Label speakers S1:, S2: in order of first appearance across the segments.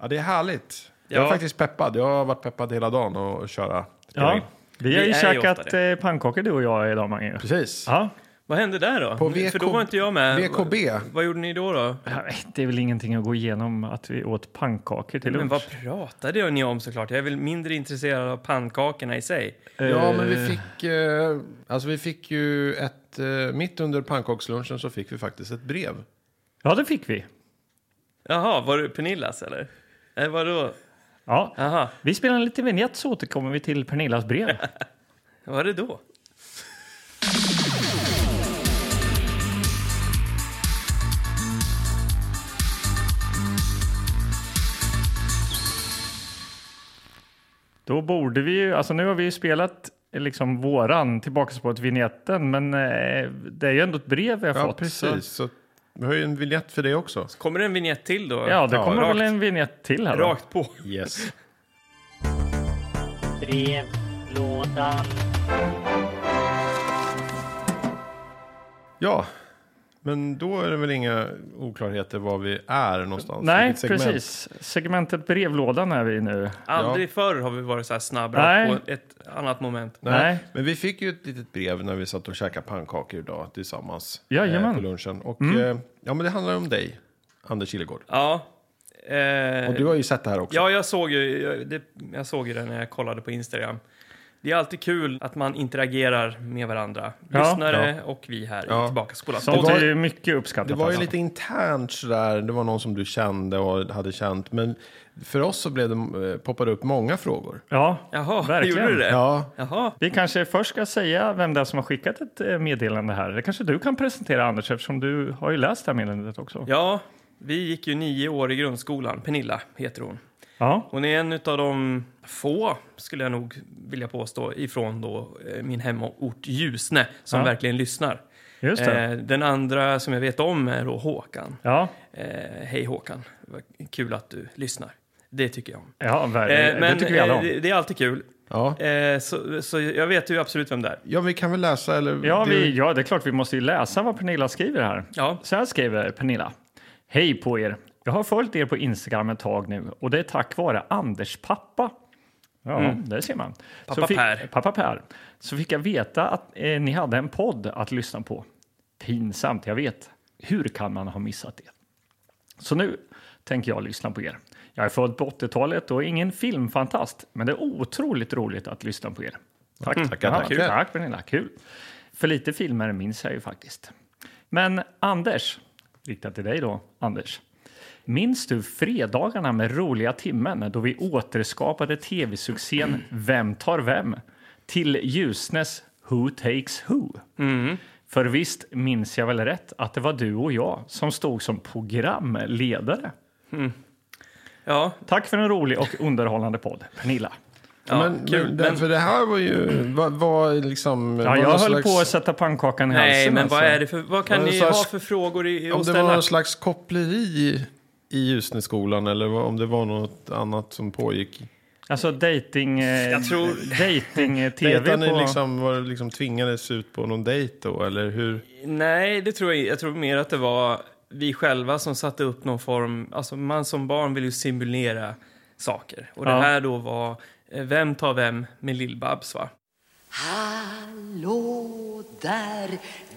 S1: Ja, det är härligt. Jag är
S2: Ja.
S1: faktiskt peppad. Jag har varit peppad hela dagen att köra. spela
S3: Ja,
S1: in.
S3: vi har ju
S2: Vi är ju
S3: käkat
S2: ofta
S3: eh, pannkakor du och jag idag Mange.
S1: Precis.
S3: Ja,
S2: Vad hände där då?
S1: På
S2: För
S1: VK
S2: då var inte jag med.
S1: VKB.
S2: Vad gjorde ni då? då?
S3: jag vet, det är väl ingenting att gå igenom att vi åt pannkakor till
S2: Men
S3: lunch.
S2: vad pratade ni om såklart? Jag är väl mindre intresserad av pannkakorna i sig.
S1: Ja,
S3: Eh,
S1: men vi fick, eh, alltså vi fick ju ett, eh, mitt under pannkakslunchen så fick vi faktiskt ett brev.
S3: Ja, det fick vi.
S2: Jaha, var det Pernillas eller? Eh, vadå?
S3: Ja,
S2: Jaha,
S3: vi spelar en liten vignett så återkommer vi till Pernillas brev.
S2: vad var det då?
S3: Då borde vi ju, alltså nu har vi ju spelat eh, liksom våran Tillbakaspåret-vignetten, men eh, det är ju ändå ett brev vi har
S1: Ja,
S3: fått.
S1: precis.
S3: Så,
S1: Så vi har ju en vignett för det också.
S2: Kommer det en vignett till då?
S3: ja, det
S1: Ja,
S3: kommer väl
S2: rakt.
S3: en vignett till här då.
S2: Rakt på.
S1: Yes.
S4: Brevlådan.
S1: Ja, men då är det väl inga oklarheter var vi är någonstans.
S3: Nej,
S1: vilket segment.
S3: precis. Segmentet brevlådan är vi nu.
S2: Aldrig förr har vi varit så här snabba
S3: Nej.
S2: på ett annat moment.
S1: Nej.
S3: Nej.
S1: Men vi fick ju ett litet brev när vi satt och käkade pannkakor idag tillsammans.
S3: Jajamän. Mm.
S1: på lunchen. Och eh, ja, men det handlar om dig, Anders Killegård.
S2: Ja. Eh,
S1: Och du har ju sett det här också.
S2: Ja, jag såg, ju, jag, det, jag såg ju det när jag kollade på Instagram. Det är alltid kul att man interagerar med varandra.
S3: Ja.
S2: Lyssnare och vi här
S1: Ja.
S2: i Tillbaka skolan.
S3: Sånt
S1: var-
S3: är ju mycket uppskattat.
S1: Det var ju
S3: alltså.
S1: lite internt sådär, det var någon som du kände och hade känt. Men för oss så blev det, eh, poppade upp många frågor.
S3: Ja,
S2: Jaha,
S3: verkligen.
S2: gjorde du det?
S1: Ja,
S2: Jaha.
S3: Vi kanske först ska säga vem det är som har skickat ett eh, meddelande här. Det kanske du kan presentera Anders eftersom du har ju läst det här meddelandet också.
S2: Ja, vi gick ju nio år i grundskolan. Pernilla heter hon.
S3: Ja,
S2: Hon är en av de få, skulle jag nog vilja påstå, ifrån då, eh, min hemort Ljusne som
S3: Ja.
S2: verkligen lyssnar.
S3: just det.
S2: Eh, den andra som jag vet om är då Håkan.
S3: Ja,
S2: Eh, hej Håkan, vad kul att du lyssnar. Det tycker jag om.
S3: ja
S2: Eh,
S3: verkligen.
S2: men
S3: det tycker vi alla
S2: eh,
S3: om.
S2: det, det är alltid kul.
S1: ja.
S2: Eh, så, så jag vet ju absolut vem det är.
S1: ja, vi kan väl läsa eller?
S3: Ja,
S1: du-
S3: vi, ja, det är klart vi måste ju läsa vad Pernilla skriver här.
S2: Ja.
S3: Så här skriver Pernilla. Hej på er! Jag har följt er på Instagram ett tag nu och det är tack vare Anders pappa. Ja, där ser man.
S2: Mm. Pappa
S3: fick,
S2: Per.
S3: Pappa Per. Så fick jag veta att eh, ni hade en podd att lyssna på. Pinsamt, jag vet. Hur kan man ha missat det? Så nu tänker jag lyssna på er. Jag är född på 80-talet och är ingen filmfantast, men det är otroligt roligt att lyssna på er. Tack,
S1: Mm, tackar,
S3: Ja,
S1: tackar.
S3: kul. Tack Pernilla, kul. För lite filmer minns jag ju faktiskt. Men Anders, riktat till dig då, Anders. Minns du fredagarna med roliga timmen då vi återskapade tv-succén Vem tar vem? Till Ljusnes Who takes who? För visst minns jag väl rätt att det var du och jag som stod som programledare?
S2: Ja,
S3: Tack för en rolig och underhållande podd, Pernilla.
S2: ja
S1: men,
S2: kul.
S1: men,
S2: men,
S1: För det här var ju, var, var liksom...
S3: Ja,
S1: var
S3: jag
S1: någon
S3: höll
S1: slags-
S3: på att sätta pannkakan i
S2: nej,
S3: halsen.
S2: men
S3: alltså.
S2: vad är det för... Vad kan
S1: Var det
S2: ni
S1: så här
S2: ha
S1: sk-
S2: för frågor i,
S1: Om
S2: att
S1: det var
S2: ställa?
S1: någon slags koppleri i Ljusneskolan eller vad- om det var något annat som pågick.
S3: Alltså dating...
S2: Jag tror-
S3: Dating-tv
S1: Dejtade
S3: på...
S1: ni liksom, var det liksom tvingades ut på någon dejt då eller hur?
S2: Nej, det tror jag Jag tror mer att det var vi själva som satte upp någon form... Alltså man som barn vill ju simulera saker. Och det
S3: Ja.
S2: här då var eh, Vem tar vem med Lill-Babs, va?
S5: Hallå där!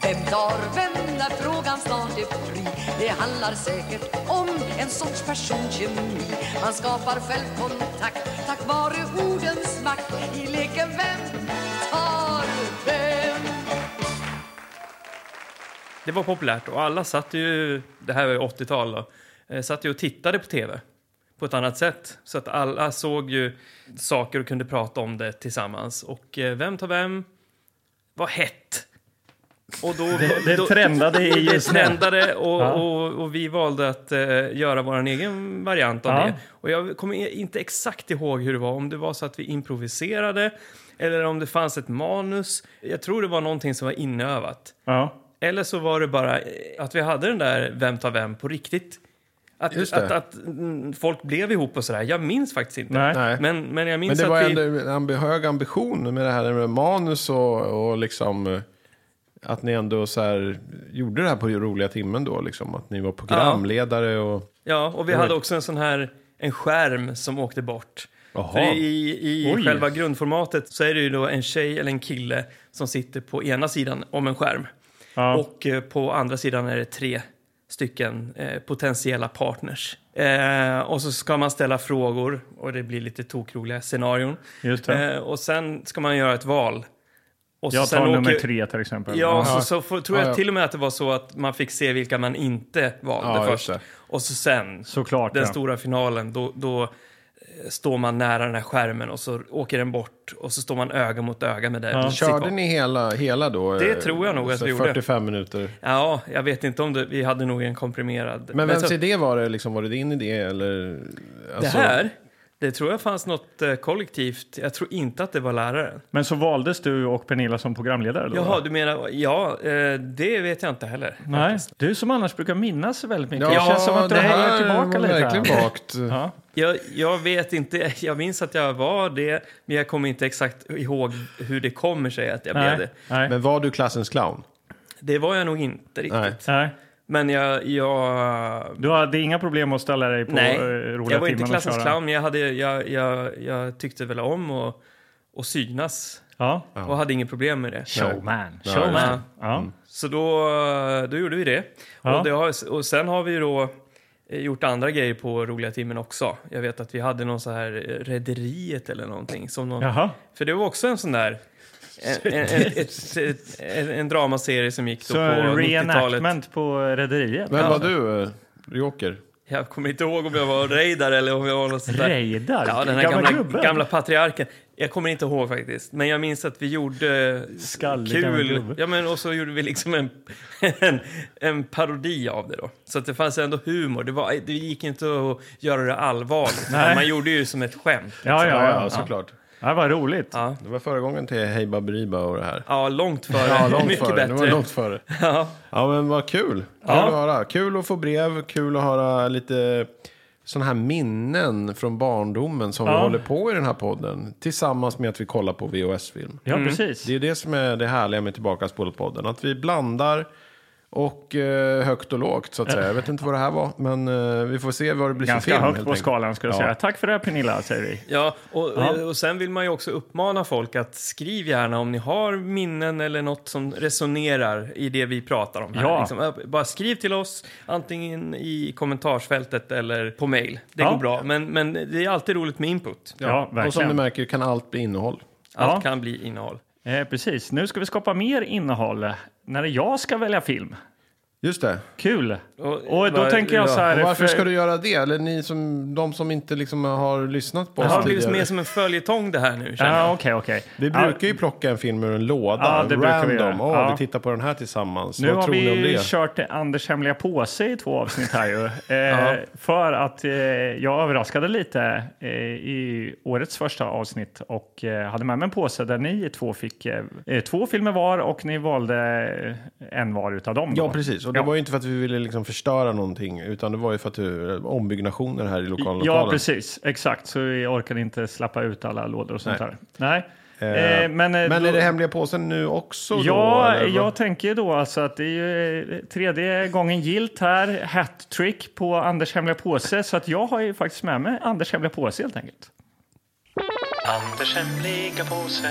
S5: Vem tar vem när frågan snart är fri? Det handlar säkert om en sorts personkemi. Man skapar självkontakt tack vare ordens makt i leken Vem tar vem?
S2: Det var populärt och alla satt ju, det här var ju 80-tal då, eh, satt ju och tittade på tv på ett annat sätt. Så att alla såg ju saker och kunde prata om det tillsammans. Och eh, vem tar vem var hett. Och då,
S3: Det
S2: då,
S3: trendade i
S2: det
S3: just nu.
S2: trendade och,
S3: Ja.
S2: och, och vi valde att eh, göra vår egen variant av
S3: Ja.
S2: det. Och jag kommer i- inte exakt ihåg hur det var, om det var så att vi improviserade eller om det fanns ett manus. Jag tror det var någonting som var inövat.
S3: Ja.
S2: Eller så var det bara eh, att vi hade den där Vem tar vem på riktigt. Att,
S1: Just det.
S2: att, att mm, folk blev ihop och sådär. Jag minns faktiskt inte.
S3: Nej.
S1: Nej.
S2: Men, men
S1: Men
S2: jag minns
S1: det var
S2: att vi...
S1: ändå en ambi- hög ambition med det här med manus och, och liksom eh, att ni ändå så här gjorde det här på roliga timmen då liksom. Att ni var programledare och...
S2: Ja, och vi hade också en sån här... en skärm som åkte bort.
S1: Jaha.
S2: För i i
S3: Oj.
S2: själva grundformatet så är det ju då en tjej eller en kille som sitter på ena sidan om en skärm.
S3: Ja.
S2: Och eh, på andra sidan är det tre stycken eh, potentiella partners. Eh, och så ska man ställa frågor och det blir lite tokroliga scenarion.
S3: Just det.
S2: Eh, och sen ska man göra ett val. Och
S3: Jag
S2: sen
S3: tar nummer
S2: åker-
S3: tre till exempel.
S2: Ja, alltså,
S1: Ja.
S2: så, så får, tror jag
S1: Ja, ja.
S2: till och med att det var så att man fick se vilka man inte valde
S1: Ja, just
S2: först.
S1: det.
S2: Och så sen,
S3: Såklart,
S2: den
S3: ja.
S2: stora finalen, då, då eh, står man nära den här skärmen och så åker den bort och så står man öga mot öga med det.
S1: Körde ni hela, hela då?
S2: Det
S1: eh,
S2: tror jag nog att
S1: så
S2: vi gjorde.
S1: 45 minuter.
S2: Ja, jag vet inte om det, vi hade nog en komprimerad.
S1: Men vems
S2: så,
S1: idé var det? Liksom, var det din idé eller?
S2: det
S1: alltså-
S2: här, det tror jag fanns något eh, kollektivt. Jag tror inte att det var läraren.
S3: Men så valdes du och Pernilla som programledare då?
S2: Jaha, du menar, ja, eh, det vet jag inte heller.
S3: Nej, du som annars brukar minnas väldigt mycket.
S1: Ja,
S3: det känns som att du
S1: det
S3: hänger
S1: här
S3: tillbaka
S1: var
S3: lite.
S1: verkligen
S3: här.
S1: vagt.
S3: Ja.
S2: Jag, jag vet inte, jag minns att jag var det, men jag kommer inte exakt ihåg hur det kommer sig att jag blev
S3: Nej,
S2: det.
S3: nej,
S1: Men var du klassens clown?
S2: Det var jag nog inte riktigt.
S1: Nej.
S3: nej.
S2: Men jag, jag
S3: Du hade inga problem att ställa dig på
S2: Nej,
S3: eh, roliga
S2: jag var inte
S3: timmen och
S2: klassens
S3: köra?
S2: clown, men jag, hade, jag, jag, jag tyckte väl om att att synas
S3: Ja.
S2: och hade inget problem med det.
S3: Showman.
S1: Ja,
S3: Showman.
S2: just det.
S3: Ja.
S2: Så då, då gjorde vi det.
S3: Ja.
S2: Och, det har, och sen har vi ju då eh, gjort andra grejer på roliga timmen också. Jag vet att vi hade någon så här eh, Rederiet eller någonting. Som någon,
S3: Jaha.
S2: För det var också en sån där... En, en, ett, ett, ett, en, en dramaserie som gick då
S3: Så
S2: på 90-talet.
S3: reenactment på Rederiet?
S1: Vem
S3: Ja.
S1: var du? eh, Joker?
S2: Jag kommer inte ihåg om jag var Reidar eller om jag var något sånt där.
S3: Reidar?
S2: Ja, den här
S3: Gamla
S2: gamla, gamla,
S3: gubben?
S2: patriarken. Jag kommer inte ihåg faktiskt. Men jag minns att vi gjorde eh,
S3: Skallig gammal
S2: kul...
S3: gubbe.
S2: Ja, men och så gjorde vi liksom en, en, en parodi av det då. Så att det fanns ändå humor. Det, var, det gick inte att göra det allvarligt.
S3: Nej.
S2: Man gjorde ju som ett skämt.
S3: Ja, ja, ja.
S1: såklart.
S3: ja vad roligt.
S2: Ja,
S1: Det var föregången till Hey Baberiba och det här.
S2: ja långt före.
S1: Ja, långt
S2: Mycket
S1: före. Det
S2: bättre.
S1: var långt före.
S2: Ja.
S1: Ja, men vad kul. Kul
S2: Ja.
S1: att höra. Kul att få brev, kul att höra lite sådana här minnen från barndomen som vi
S3: Ja.
S1: håller på i den här podden. Tillsammans med att vi kollar på VHS-film.
S3: Ja, precis.
S1: Det är det som är det härliga med Tillbaka podden Att vi blandar och eh, högt och lågt så att säga. Jag vet inte vad det här var, men eh, vi får se vad det blir
S3: Ganska
S1: för film.
S3: högt
S1: helt
S3: på
S1: enkelt.
S3: skalan skulle jag
S1: Ja.
S3: säga. Tack för det här Pernilla, säger vi.
S2: Ja, och,
S3: Ja.
S2: och sen vill man ju också uppmana folk att skriv gärna om ni har minnen eller något som resonerar i det vi pratar om. Här.
S3: Ja.
S2: Liksom, äh, bara skriv till oss, antingen i kommentarsfältet eller på mail. Det
S3: Ja.
S2: går bra, men, men det är alltid roligt med input.
S3: Ja,
S1: och som
S3: verkligen.
S1: ni märker kan allt bli innehåll.
S2: Allt
S3: Ja.
S2: kan bli innehåll.
S3: Eh, precis. Nu ska vi skapa mer innehåll när jag ska välja film.
S1: Just det.
S3: Kul!
S2: Och-
S3: Och då
S2: vad-
S3: tänker jag
S2: ja.
S3: så här...
S1: Och varför
S3: för-
S1: ska du göra det? Eller ni som, de som inte liksom har lyssnat på
S2: Det har
S1: oss
S2: blivit
S1: tidigare.
S2: mer som en följetong det här nu. känner jag.
S3: Ja, okej, okej.
S1: Vi
S3: Ja,
S1: brukar ju plocka en film ur en låda,
S3: Ja, det brukar
S1: random.
S3: vi
S1: Vi,
S3: göra. Ja.
S1: vi tittar på den här tillsammans.
S3: Nu
S1: Vad
S3: har
S1: tror ni om
S3: vi
S1: det?
S3: kört Anders hemliga påse i två avsnitt här ju. Eh, För att eh, jag överraskade lite eh, i årets första avsnitt och eh, hade med mig en påse där ni två fick eh, eh, två filmer var och ni valde eh, en var utav dem. då.
S1: Ja, precis. Och det
S3: Ja.
S1: var ju inte för att vi ville liksom förstöra någonting, utan det var ju för att du, ombyggnationer här i lokallokalen.
S3: Ja, precis. Exakt. Så jag orkade inte slappa ut alla lådor och sånt
S1: Nej.
S3: där. Nej.
S1: Eh,
S3: Eh, men, eh,
S1: Men
S3: då-
S1: är det hemliga påsen nu också? då,
S3: Ja,
S1: eller vad?
S3: jag tänker ju då alltså att det är ju eh, tredje gången gilt här. Hattrick på Anders hemliga påse. Så att jag har ju faktiskt med mig Anders hemliga påse helt enkelt.
S4: Anders hemliga påse.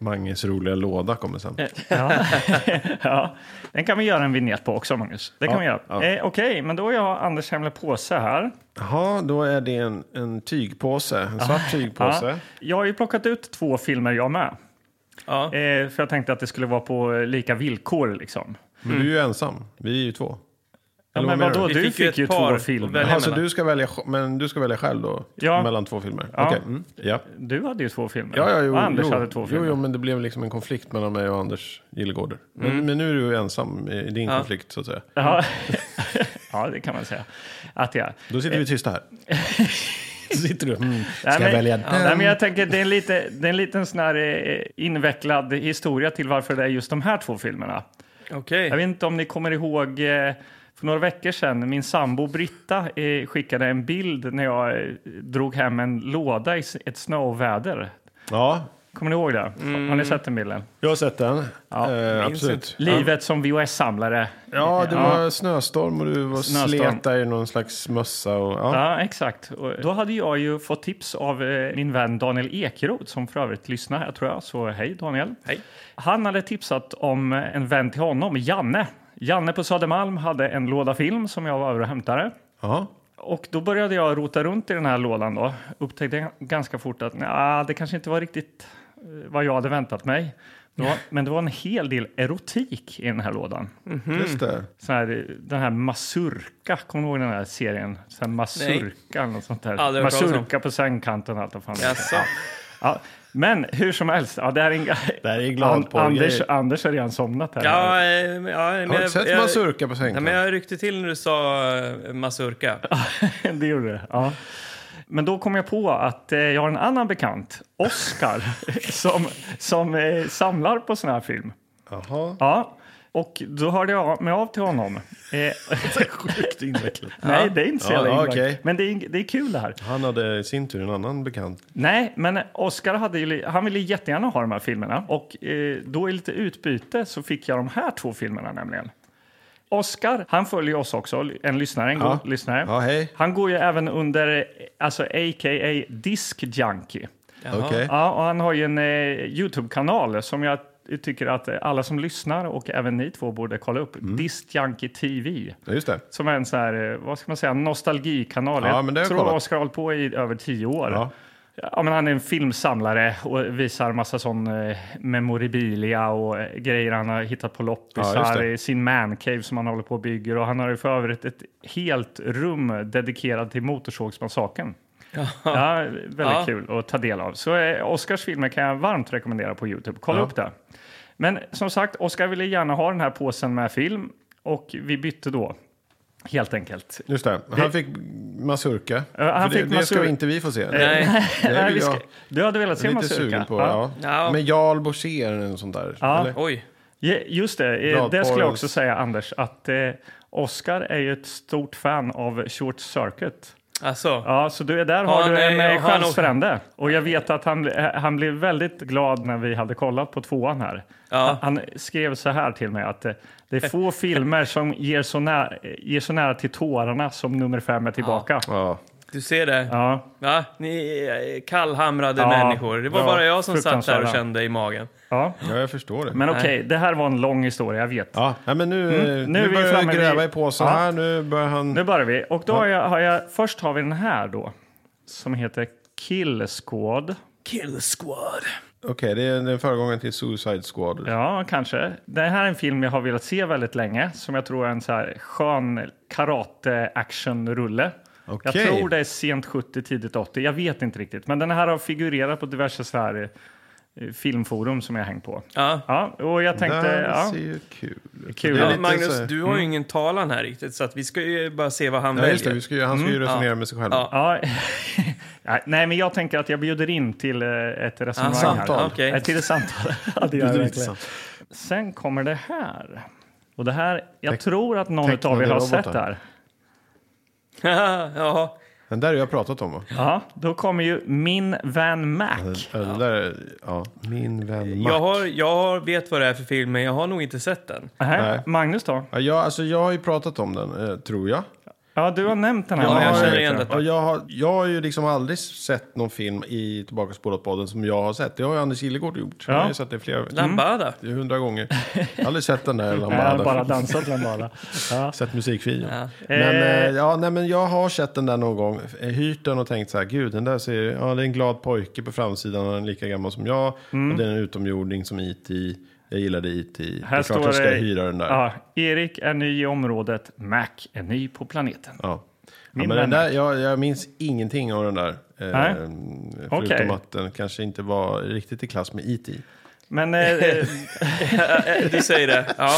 S1: Manges roliga låda kommer sen.
S3: Eh. Ja. ja. Den kan vi göra en vignett på också, Magnus. Det kan
S1: Ja,
S3: vi göra.
S1: ja.
S3: Eh, Okej, men då är jag Anders hemliga påse här.
S1: Jaha, då är det en, en tygpåse. En svart
S3: Ja.
S1: tygpåse.
S3: Jag har ju plockat ut två filmer jag med.
S2: Ja.
S3: Eh, för jag tänkte att det skulle vara på eh, lika villkor liksom.
S1: Men du är ju ensam. Vi är ju två.
S3: Ja,
S1: Eller
S3: men
S1: vad menar
S3: vadå,
S2: du?
S3: du
S2: Vi
S3: fick ju,
S2: ett par
S3: två
S2: att
S3: filmer.
S2: välja
S1: Jaha, så
S2: mellan.
S1: du ska välja, sj- men du ska välja själv då?
S3: Ja.
S1: Mellan två filmer?
S3: Ja.
S1: Okej, mm. ja.
S3: Du hade ju två filmer.
S1: Ja, ja, jo,
S3: och Anders
S1: jo,
S3: hade två filmer.
S1: Jo, jo, men det blev liksom en konflikt mellan mig och Anders Gillegårder. Men,
S3: Mm.
S1: men nu är du ensam i din konflikt, så att säga.
S3: Ja. ja, det kan man säga att jag är.
S1: Då sitter vi tysta här. Så sitter du. Mm. Ska
S3: Nej,
S1: jag
S3: men-
S1: välja
S3: Ja, nej,
S1: den?
S3: men jag tänker det är en lite, det är en liten sån här eh, invecklad historia till varför det är just de här två filmerna.
S2: Okej.
S3: Jag vet inte om ni kommer ihåg eh, för några veckor sedan, min sambo Britta eh, skickade en bild när jag eh, drog hem en låda i s- ett snöväder.
S1: Ja,
S3: Kommer ni ihåg det? Har
S1: Mm.
S3: ni sett den bilden?
S1: Jag har sett den.
S3: Ja,
S1: eh, absolut.
S2: inte.
S3: Livet som VHS-samlare.
S1: Ja, det var snöstorm och du var
S3: Snöstorm.
S1: slet där i någon slags mössa. Och, ja.
S3: Ja, exakt. Och Då hade jag ju fått tips av eh, min vän Daniel Ekeroth som för övrigt lyssnar här tror jag. Så hej Daniel.
S2: Hej.
S3: Han hade tipsat om eh, en vän till honom, Janne. Janne på Södermalm hade en låda film som jag var över och hämtade.
S1: Ja.
S3: Och då började jag rota runt i den här lådan då. Upptäckte g- ganska fort att nja, det kanske inte var riktigt eh, vad jag hade väntat mig. Det var, men det var en hel del erotik i den här lådan.
S1: Just det.
S3: Sån här, den här Masurka, kommer du ihåg den här serien? Sån här Masurka eller något sånt där.
S2: Aldrig hört talas om.
S3: Masurka på sängkanten och allt vad fan det
S2: Jaså?
S3: heter. ja. Men hur som helst, ja, det här är en...
S1: Det här är glad på
S3: Anders,
S1: grejer.
S3: Anders har redan somnat här.
S2: Ja, eh, ja, men
S1: Har du sett Mazurka på
S2: Nej,
S1: sängen?
S2: men jag ryckte till när du sa eh, mazurka.
S3: det gjorde det. Ja. Men då kom jag på att eh, jag har en annan bekant, Oscar, som, som eh, samlar på sån här film.
S1: Jaha.
S3: Ja. Och då hörde jag av- mig av till honom. Eh,
S1: Sjukt invecklat.
S3: nej, det är inte så
S1: Ja,
S3: jävla
S1: ja,
S3: invecklat.
S1: okej.
S3: Men det är, det är kul det här.
S1: Han hade i sin tur en annan bekant.
S3: Nej, men Oscar hade ju, li- han ville jättegärna ha de här filmerna. Och eh, då i lite utbyte så fick jag de här två filmerna nämligen. Oscar, han följer oss också, en lyssnare, en
S1: Ja.
S3: god lyssnare.
S1: Ja, hej.
S3: Han går ju även under, eh, alltså a.k.a. Disc Junkie.
S1: Okej.
S3: Ja, och han har ju en eh, Youtube-kanal som jag tycker att eh, alla som lyssnar och även ni två borde kolla upp.
S1: Mm.
S3: Disc Junkie TV.
S1: Ja, just det.
S3: Som är en sån här, eh, vad ska man säga, nostalgikanal.
S1: Ja, men det har
S3: jag
S1: jag
S3: tror
S1: kollat.
S3: Oscar har hållit på i över tio år. Ja.
S1: Ja.
S3: men han är en filmsamlare och visar massa sån eh, memorabilia och eh, grejer han har hittat på
S1: Ja, just
S3: loppisar
S1: det.
S3: i sin mancave som han håller på och bygger. Och han har ju för övrigt ett helt rum dedikerat till Motorsågsmassakern. Ja, väldigt
S2: Ja.
S3: kul att ta del av. Så eh, Oscars filmer kan jag varmt rekommendera på Youtube. Kolla upp det. Men som sagt, Oscar ville gärna ha den här påsen med film och vi bytte då. Helt enkelt.
S1: Just det. Han fick mazurka.
S3: Ja, han
S1: För det,
S3: fick
S1: det ska
S3: mazur-
S1: inte vi få se.
S2: Nej,
S1: Det
S3: Nej,
S1: vill
S3: vi ska-
S1: jag.
S3: Du hade velat se
S1: lite
S3: Mazurka?
S1: sugen på.
S3: Ja.
S1: Ja.
S2: Ja.
S1: Med Jarl Borsér eller sånt där.
S3: Ja.
S1: Eller?
S2: oj.
S3: Je- Just det, eh, det
S1: Bladporrens-
S3: skulle jag också säga Anders, att eh, Oscar är ju ett stort fan av Short Circuit.
S2: Alltså,
S3: Ja, så du är där har
S2: han
S3: du en
S2: är- har
S3: eh,
S2: han
S3: chans
S2: också-
S3: för ände. Och jag vet att han, eh, han blev väldigt glad när vi hade kollat på tvåan här.
S2: Ja.
S3: Han skrev så här till mig att eh, det är få filmer som ger så, nära, ger så nära till tårarna som nummer fem är tillbaka. Ja.
S1: Ja.
S2: du ser det.
S3: Ja.
S2: Va? Ni är kallhamrade
S3: Ja,
S2: människor. Det var
S3: ja,
S2: bara jag som satt där och
S3: fruktansvärda.
S2: kände i magen.
S1: ja, jag förstår det.
S3: Men okej, det här var en lång historia, jag vet.
S1: Ja, nej, men nu, nu,
S3: Nu är vi
S1: börjar han
S3: framme
S1: gräva
S3: vid-
S1: i påsen
S3: Ja.
S1: här. Nu börjar han...
S3: Nu börjar vi. Och då har jag, har jag, först har vi den här då, som heter Kill Squad.
S2: Kill squad.
S1: Okej, det är den föregångaren till Suicide Squad.
S3: Ja, kanske. Det här är en film jag har velat se väldigt länge som jag tror är en så här skön karate-action-rulle. Jag
S1: Okej.
S3: tror det är sent 70, tidigt 80. Jag vet inte riktigt. Men den här har figurerat på diverse så här, eh, filmforum som jag hängt på.
S2: Ja.
S3: Ja, och jag tänkte...
S1: det
S3: Ja,
S1: ser ju kul ut.
S3: Kul.
S1: Det är
S2: Ja,
S1: lite
S2: Magnus,
S1: så här- Mm.
S2: du har ju ingen talan här riktigt, så att vi ska ju bara se vad han
S1: Ja, just det.
S2: väljer.
S1: Vi ska ju, han ska ju resonera med sig själv.
S2: Mm. Ja.
S3: ja. Nej, Nej, men jag tänker att jag bjuder in till eh, ett resonemang här.
S1: samtal.
S2: Okej.
S3: Nej, Till ett samtal. ja, det gör jag
S1: Det är
S3: verkligen.
S1: intressant.
S3: Sen kommer det här. Och det här, jag
S1: Teck-
S3: tror att någon
S1: tecknade
S3: av er har
S1: robotar.
S3: sett det här.
S2: ja.
S1: Den där har jag pratat om va?
S3: Ja, då kommer ju Min vän Mac.
S1: Ja. Den där, ja. Min vän Mac.
S2: Jag, har, jag har- vet vad det är för film, men jag har nog inte sett den.
S1: Mm.
S3: Nähä,
S1: Nej.
S3: Magnus då?
S1: Ja, jag, alltså, jag har ju pratat om den, eh, tror jag.
S3: Ja, du har nämnt den här.
S2: Ja, jag
S3: någon gång,
S2: känner
S3: vet
S2: igen detta.
S1: Och jag, har, jag har ju liksom aldrig sett någon film i Tillbaka spolat-podden som jag har sett. Det har ju Anders Gillegård gjort.
S3: Ja.
S1: Jag har ju sett det flera
S2: Lambada.
S1: hundra gånger. Jag har aldrig sett den där
S3: Jag har bara
S1: Lambada.
S3: dansat Lambada. Ja.
S1: Sett musikvideon.
S2: Ja.
S1: Men,
S3: Eh.
S1: eh, ja, nej, men jag har sett den där någon gång. eh, Hyrt den och tänkt så här, gud den där ser ju- ja, det är en glad pojke på framsidan. Han är lika gammal som jag. Och det är en utomjording som IT. Jag gillade IT. det är klart jag ska hyra den där. Ja.
S3: Ja, Erik är ny i området, Mac är ny på planeten.
S1: Ja.
S3: Min
S1: men den
S3: vän.
S1: där, jag, jag minns ingenting av den där.
S3: Nej.
S1: Eh, förutom
S3: Okej.
S1: att den kanske inte var E riktigt i klass med IT.
S3: Men eh, eh,
S2: Du säger det. Ja.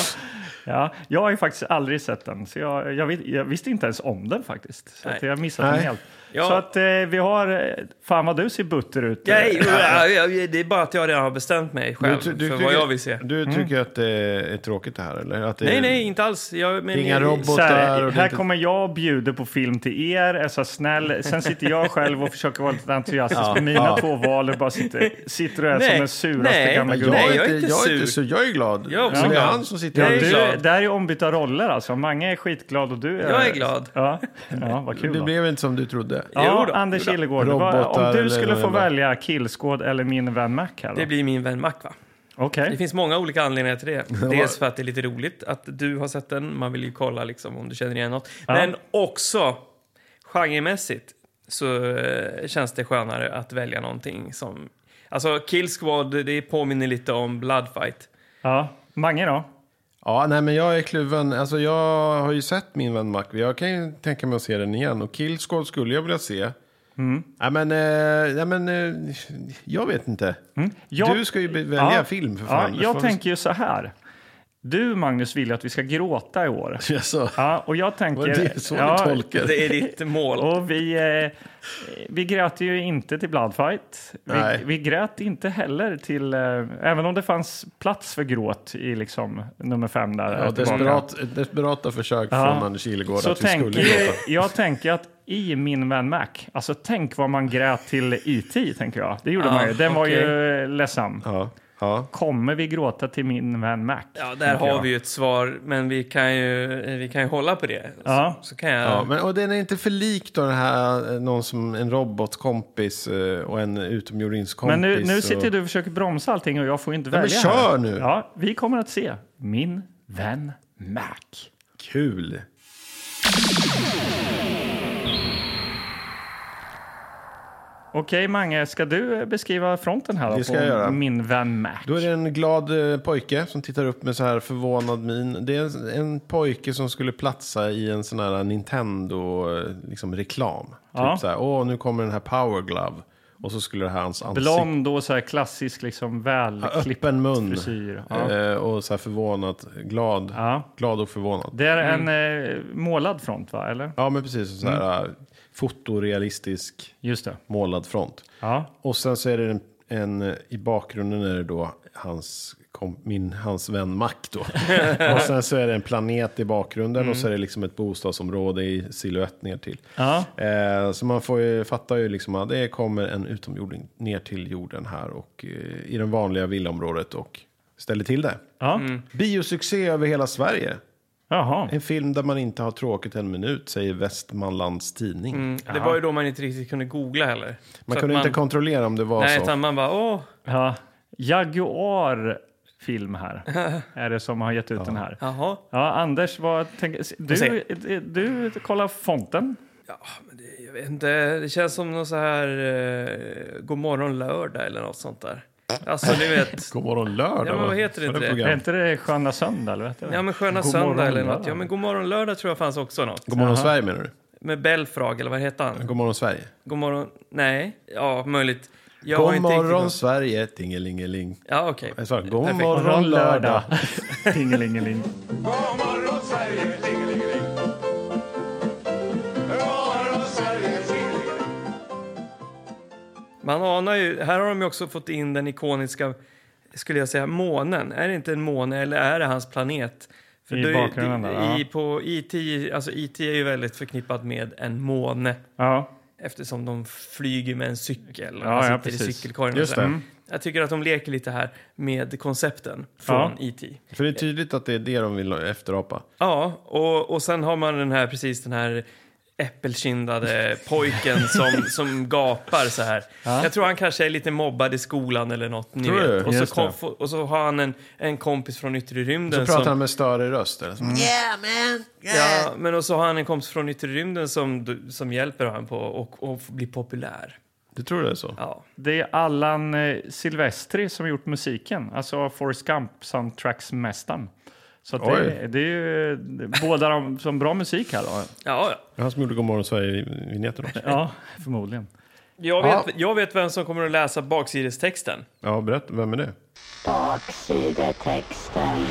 S3: Ja, jag har ju faktiskt aldrig sett den, så jag, jag, vet, jag visste inte ens om den faktiskt. Så
S2: Nej.
S3: att jag har missat den
S1: Nej.
S3: helt.
S2: Ja.
S3: Så att eh, vi har... eh, Fan vad du ser butter ut. eh,
S2: Nej, ja, ja, ja, det är bara att jag redan har bestämt mig själv
S1: ty-
S2: för
S1: tycker-
S2: vad jag vill se.
S1: Du
S3: Mm.
S1: tycker att det är tråkigt det här? Eller? Att det
S2: Nej,
S1: är,
S2: nej, inte alls. Jag, men,
S1: Inga robotar.
S3: Så här,
S1: och det är
S3: här
S1: inte-
S3: kommer jag och bjuder på film till er, är så snäll. Sen sitter jag själv och försöker vara lite entusiastisk med mina
S1: Ja.
S3: två val och bara sitter, sitter och är
S2: Nej.
S3: som den suraste
S2: Nej.
S3: gamla
S1: Jag,
S3: gubben.
S2: Nej,
S1: är inte, jag är inte sur. Jag är glad.
S2: Jag är också
S1: Men det är
S2: glad.
S1: han som sitter
S2: Jag
S1: här.
S2: är
S3: Du,
S2: glad.
S3: det här är ombytta roller alltså. Mange är skitglad och du är...
S2: Jag är glad.
S3: Ja, ja vad kul.
S1: Det
S3: då.
S1: blev inte som du trodde.
S3: Ja,
S2: Jo då.
S3: Anders
S2: Jo då.
S3: Illegård, det var-
S1: Robotar
S3: om du
S1: eller
S3: skulle få
S1: vad det var.
S3: välja killskåd eller min vän Mac här då?
S2: Det blir min vän Mac, va?
S3: Okej.
S2: Det finns många olika anledningar till det. Dels för att det är lite roligt att du har sett den. Man vill ju kolla liksom, om du känner igen något. Men också genremässigt så eh, känns det skönare att välja någonting som... Alltså Kill Squad, det påminner lite om Bloodfight.
S3: Ja. Mange då?
S1: Ja, nej, men jag är kluven. Alltså, jag har ju sett Min vän Mac. Jag kan ju tänka mig att se den igen. Och Killsquad skulle jag vilja se.
S3: Mm.
S1: Nej, men, eh, nej, men eh, jag vet inte.
S3: Mm. Jag-
S1: Du ska ju be- välja film för fan.
S3: Ja, jag tänker ju så här. Du, Magnus, vill ju att vi ska gråta i år.
S1: Alltså,
S3: Ja, och jag tänker...
S1: var det så
S3: ja,
S1: du tolkar?
S2: Det är ditt mål.
S3: Och vi, eh, vi grät ju inte till Bloodfight.
S1: Nej.
S3: Vi, vi grät inte heller till... Eh, även om det fanns plats för gråt i liksom nummer fem där.
S1: Ja,
S3: tillbaka.
S1: desperat, desperata försök från Anders Ilegård
S3: Så
S1: att vi
S3: tänker,
S1: skulle låta.
S3: jag tänker att i Min vän Mac, alltså tänk vad man grät till E.T. tänker jag. Det gjorde
S2: Ja,
S3: man ju. Den var
S2: okej.
S3: ju ledsam.
S1: Ja, ja.
S3: Kommer vi gråta till Min vän Mac?
S2: Ja, där
S3: tänker
S2: har
S3: jag.
S2: vi ju ett svar, men vi kan ju, vi kan ju hålla på det.
S3: Ja.
S2: Så, så kan jag...
S1: Ja, men, och den är inte för lik då den här, eh, någon som en robotkompis eh, och en utomjordingskompis.
S3: Men nu, nu
S1: och...
S3: sitter du och försöker bromsa allting och jag får inte
S1: men
S3: välja.
S1: kör
S3: här.
S1: nu!
S3: Ja, vi kommer att se Min vän Mac.
S1: Kul!
S3: Okej, Mange, ska du eh, beskriva fronten här då
S1: Det ska
S3: på
S1: jag göra.
S3: Min vän Mac?
S1: Då är det en glad eh, pojke som tittar upp med så här förvånad min. Det är en, en pojke som skulle platsa i en sån här Nintendo-reklam. Liksom, reklam. typ
S3: Ja.
S1: så här, åh nu kommer den här Power Glove. Och så skulle det här hans ansikte.
S3: Blond och så här klassisk, liksom välklippt
S1: öppen mun.
S3: frisyr. Ja.
S1: Eh, och så här förvånat, glad.
S3: Ja.
S1: Glad och förvånad.
S3: Det är en eh,
S1: Mm.
S3: målad front, va? Eller?
S1: Ja men precis, så här
S3: Mm.
S1: eh, fotorealistisk
S3: Just det.
S1: målad front.
S3: Ja.
S1: Och sen så är det en, en eh, i bakgrunden är det då hans, kom, min, hans vän Mac då. och sen så är det en planet i bakgrunden och
S2: Mm.
S1: så är det liksom ett bostadsområde i silhuett ner till.
S3: Ja.
S1: Eh, så man får ju, fattar ju liksom att det kommer en utomjording ner till jorden här och eh, i det vanliga villaområdet och ställer till det.
S3: Ja.
S1: Biosuccé över hela Sverige.
S3: Jaha.
S1: En film där man inte har tråkigt en minut, säger Västmanlands Tidning.
S2: Det var ju då man inte riktigt kunde googla heller.
S1: Man
S2: Mm. Så
S1: kunde
S2: att
S1: inte kontrollera om det var
S2: Nej,
S1: så.
S2: utan man bara åh,
S3: Ja. Jaguar film här, är det som har gett ut den här.
S2: jaha.
S3: Ja, Anders, vad tänker du? Du kollar fonten.
S2: Jag vet inte, det känns som någon så här eh, God morgon lördag eller något sånt där. Alltså du vet,
S1: God morgon lördag.
S2: Ja, men vad
S1: va?
S2: heter det
S1: Var
S2: inte det?
S1: program?
S3: Är inte det Sköna söndag? Eller vet du?
S2: ja men sköna
S3: God
S2: söndag
S3: morgon
S2: eller något.
S3: lördag.
S2: Ja men God morgon lördag tror jag fanns också något.
S1: God morgon Sverige menar du?
S2: Med Belfrag eller vad heter han?
S1: God morgon Sverige.
S2: God morgon, nej, ja möjligt. Jag har
S1: God
S2: inte riktigt
S1: morgon
S2: något-
S1: Sverige, tingelingeling.
S2: Ja okej.
S1: Jag sa, god
S2: Perfekt.
S1: morgon lördag.
S3: Tingelingeling.
S6: God morgon Sverige, tingelingeling. God morgon Sverige, tingelingeling.
S2: Man anar ju, här har de ju också fått in den ikoniska, skulle jag säga, månen. Är det inte en måne eller är det hans planet? För
S3: I
S2: då är-
S3: bakgrunden
S2: det-
S3: där, ja.
S2: i, på IT, alltså IT är ju väldigt förknippat med en måne.
S3: Ja.
S2: Eftersom de flyger med en cykel och
S3: Ja,
S2: han
S3: ja,
S2: sitter i
S3: precis.
S2: cykelkorgen. och
S1: Just
S2: så här.
S1: det. Mm.
S2: Jag tycker att de leker lite här med koncepten från E E.T.
S1: För det är tydligt att det är det de vill efterapa.
S2: Ja, och, och sen har man den här, precis den här äppelkindade pojken som, som gapar så här. Jag tror han kanske är lite mobbad i skolan eller något, ni
S1: Tror du?
S2: vet. Och så,
S3: Just
S2: kom,
S3: det.
S2: få- och så har han en, en kompis från yttre
S1: Så
S2: rymden
S1: pratar han
S2: som...
S1: med större röst. Eller?
S5: Mm.
S1: så.
S2: Ja, men och så har han en kompis från yttre rymden som, du- som hjälper honom på och, och blir populär.
S1: Du tror det är så?
S2: Ja.
S3: Det är Allan eh, Silvestri som gjort musiken, alltså Forrest Gump soundtracks-mästaren. Så att det,
S1: Oj.
S3: det är ju eh, båda de som bra musik här då.
S2: Ja, ja.
S1: Det är Han som gjorde God morgon Sverige-vinjetten också.
S3: Ja, förmodligen.
S2: Jag vet, jag vet vem som kommer att läsa baksidestexten.
S1: Ja, berätta. Vem är det?
S7: baksidetexten.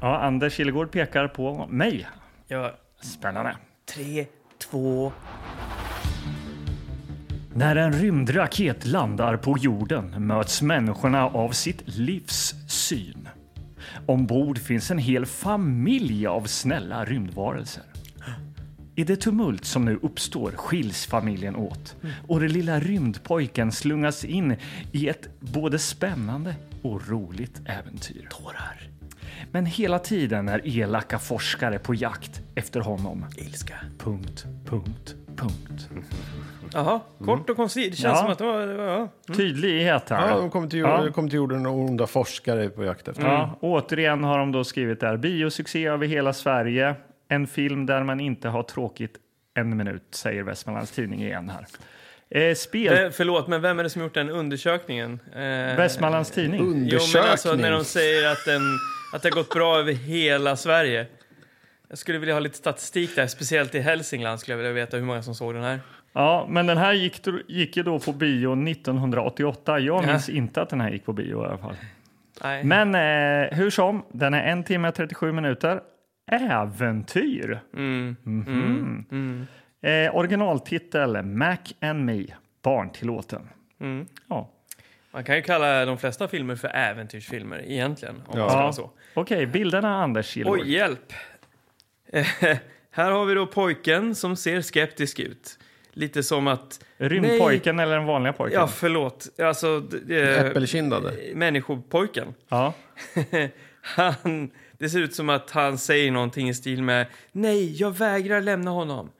S3: Ja, Anders Killegård pekar på mig.
S2: Ja.
S3: Spännande.
S2: Tre, två...
S3: När en rymdraket landar på jorden möts människorna av sitt livs syn. Ombord finns en hel familj av snälla rymdvarelser. I det tumult som nu uppstår skiljs familjen åt och den lilla rymdpojken slungas in i ett både spännande och roligt äventyr. Tårar. Men hela tiden är elaka forskare på jakt efter honom.
S2: Ilska.
S3: Punkt, punkt, punkt.
S2: Jaha,
S1: Mm.
S2: kort och koncist. Det känns
S3: Ja.
S2: som att det var... det var- Ja.
S3: Tydlighet här.
S1: Ja, de kom till, jorden, kom till jorden och onda forskare är på jakt efter.
S2: Mm.
S3: Ja, återigen har de då skrivit där. Biosuccé över hela Sverige. En film där man inte har tråkigt en minut, säger Västmanlands Tidning igen här. Eh, spel...
S2: Eh, förlåt, men vem är det som gjort den undersökningen? Eh,
S3: Västmanlands Tidning.
S2: Jo, men alltså
S1: Undersökning.
S2: när de säger att, den, att det har gått bra över hela Sverige. Jag skulle vilja ha lite statistik där, speciellt i Hälsingland skulle jag vilja veta hur många som såg den här.
S3: Ja, men den här gick, gick ju då på bio 1988. Jag minns inte att den här gick på bio i alla fall.
S2: Nej.
S3: Men eh, hur som, den är en timme och 37 minuter. Äventyr.
S2: Mm.
S3: Mhm. Eh, originaltitel Mac and Me, barntillåten.
S2: Mm.
S3: Ja.
S2: Man kan ju kalla de flesta filmer för äventyrsfilmer egentligen. Om
S1: Ja.
S2: man ska vara så.
S3: Okej, bilderna Anders Kilborg.
S2: Oj, hjälp! Eh, här har vi då pojken som ser skeptisk ut. Lite som att...
S3: Rymdpojken eller den vanliga
S2: Nej,
S3: pojken?
S2: Ja, förlåt. Alltså, d- eh,
S1: Äppelkindade.
S2: människopojken.
S3: Ja.
S2: han, det ser ut som att han säger någonting i stil med nej, jag vägrar lämna honom.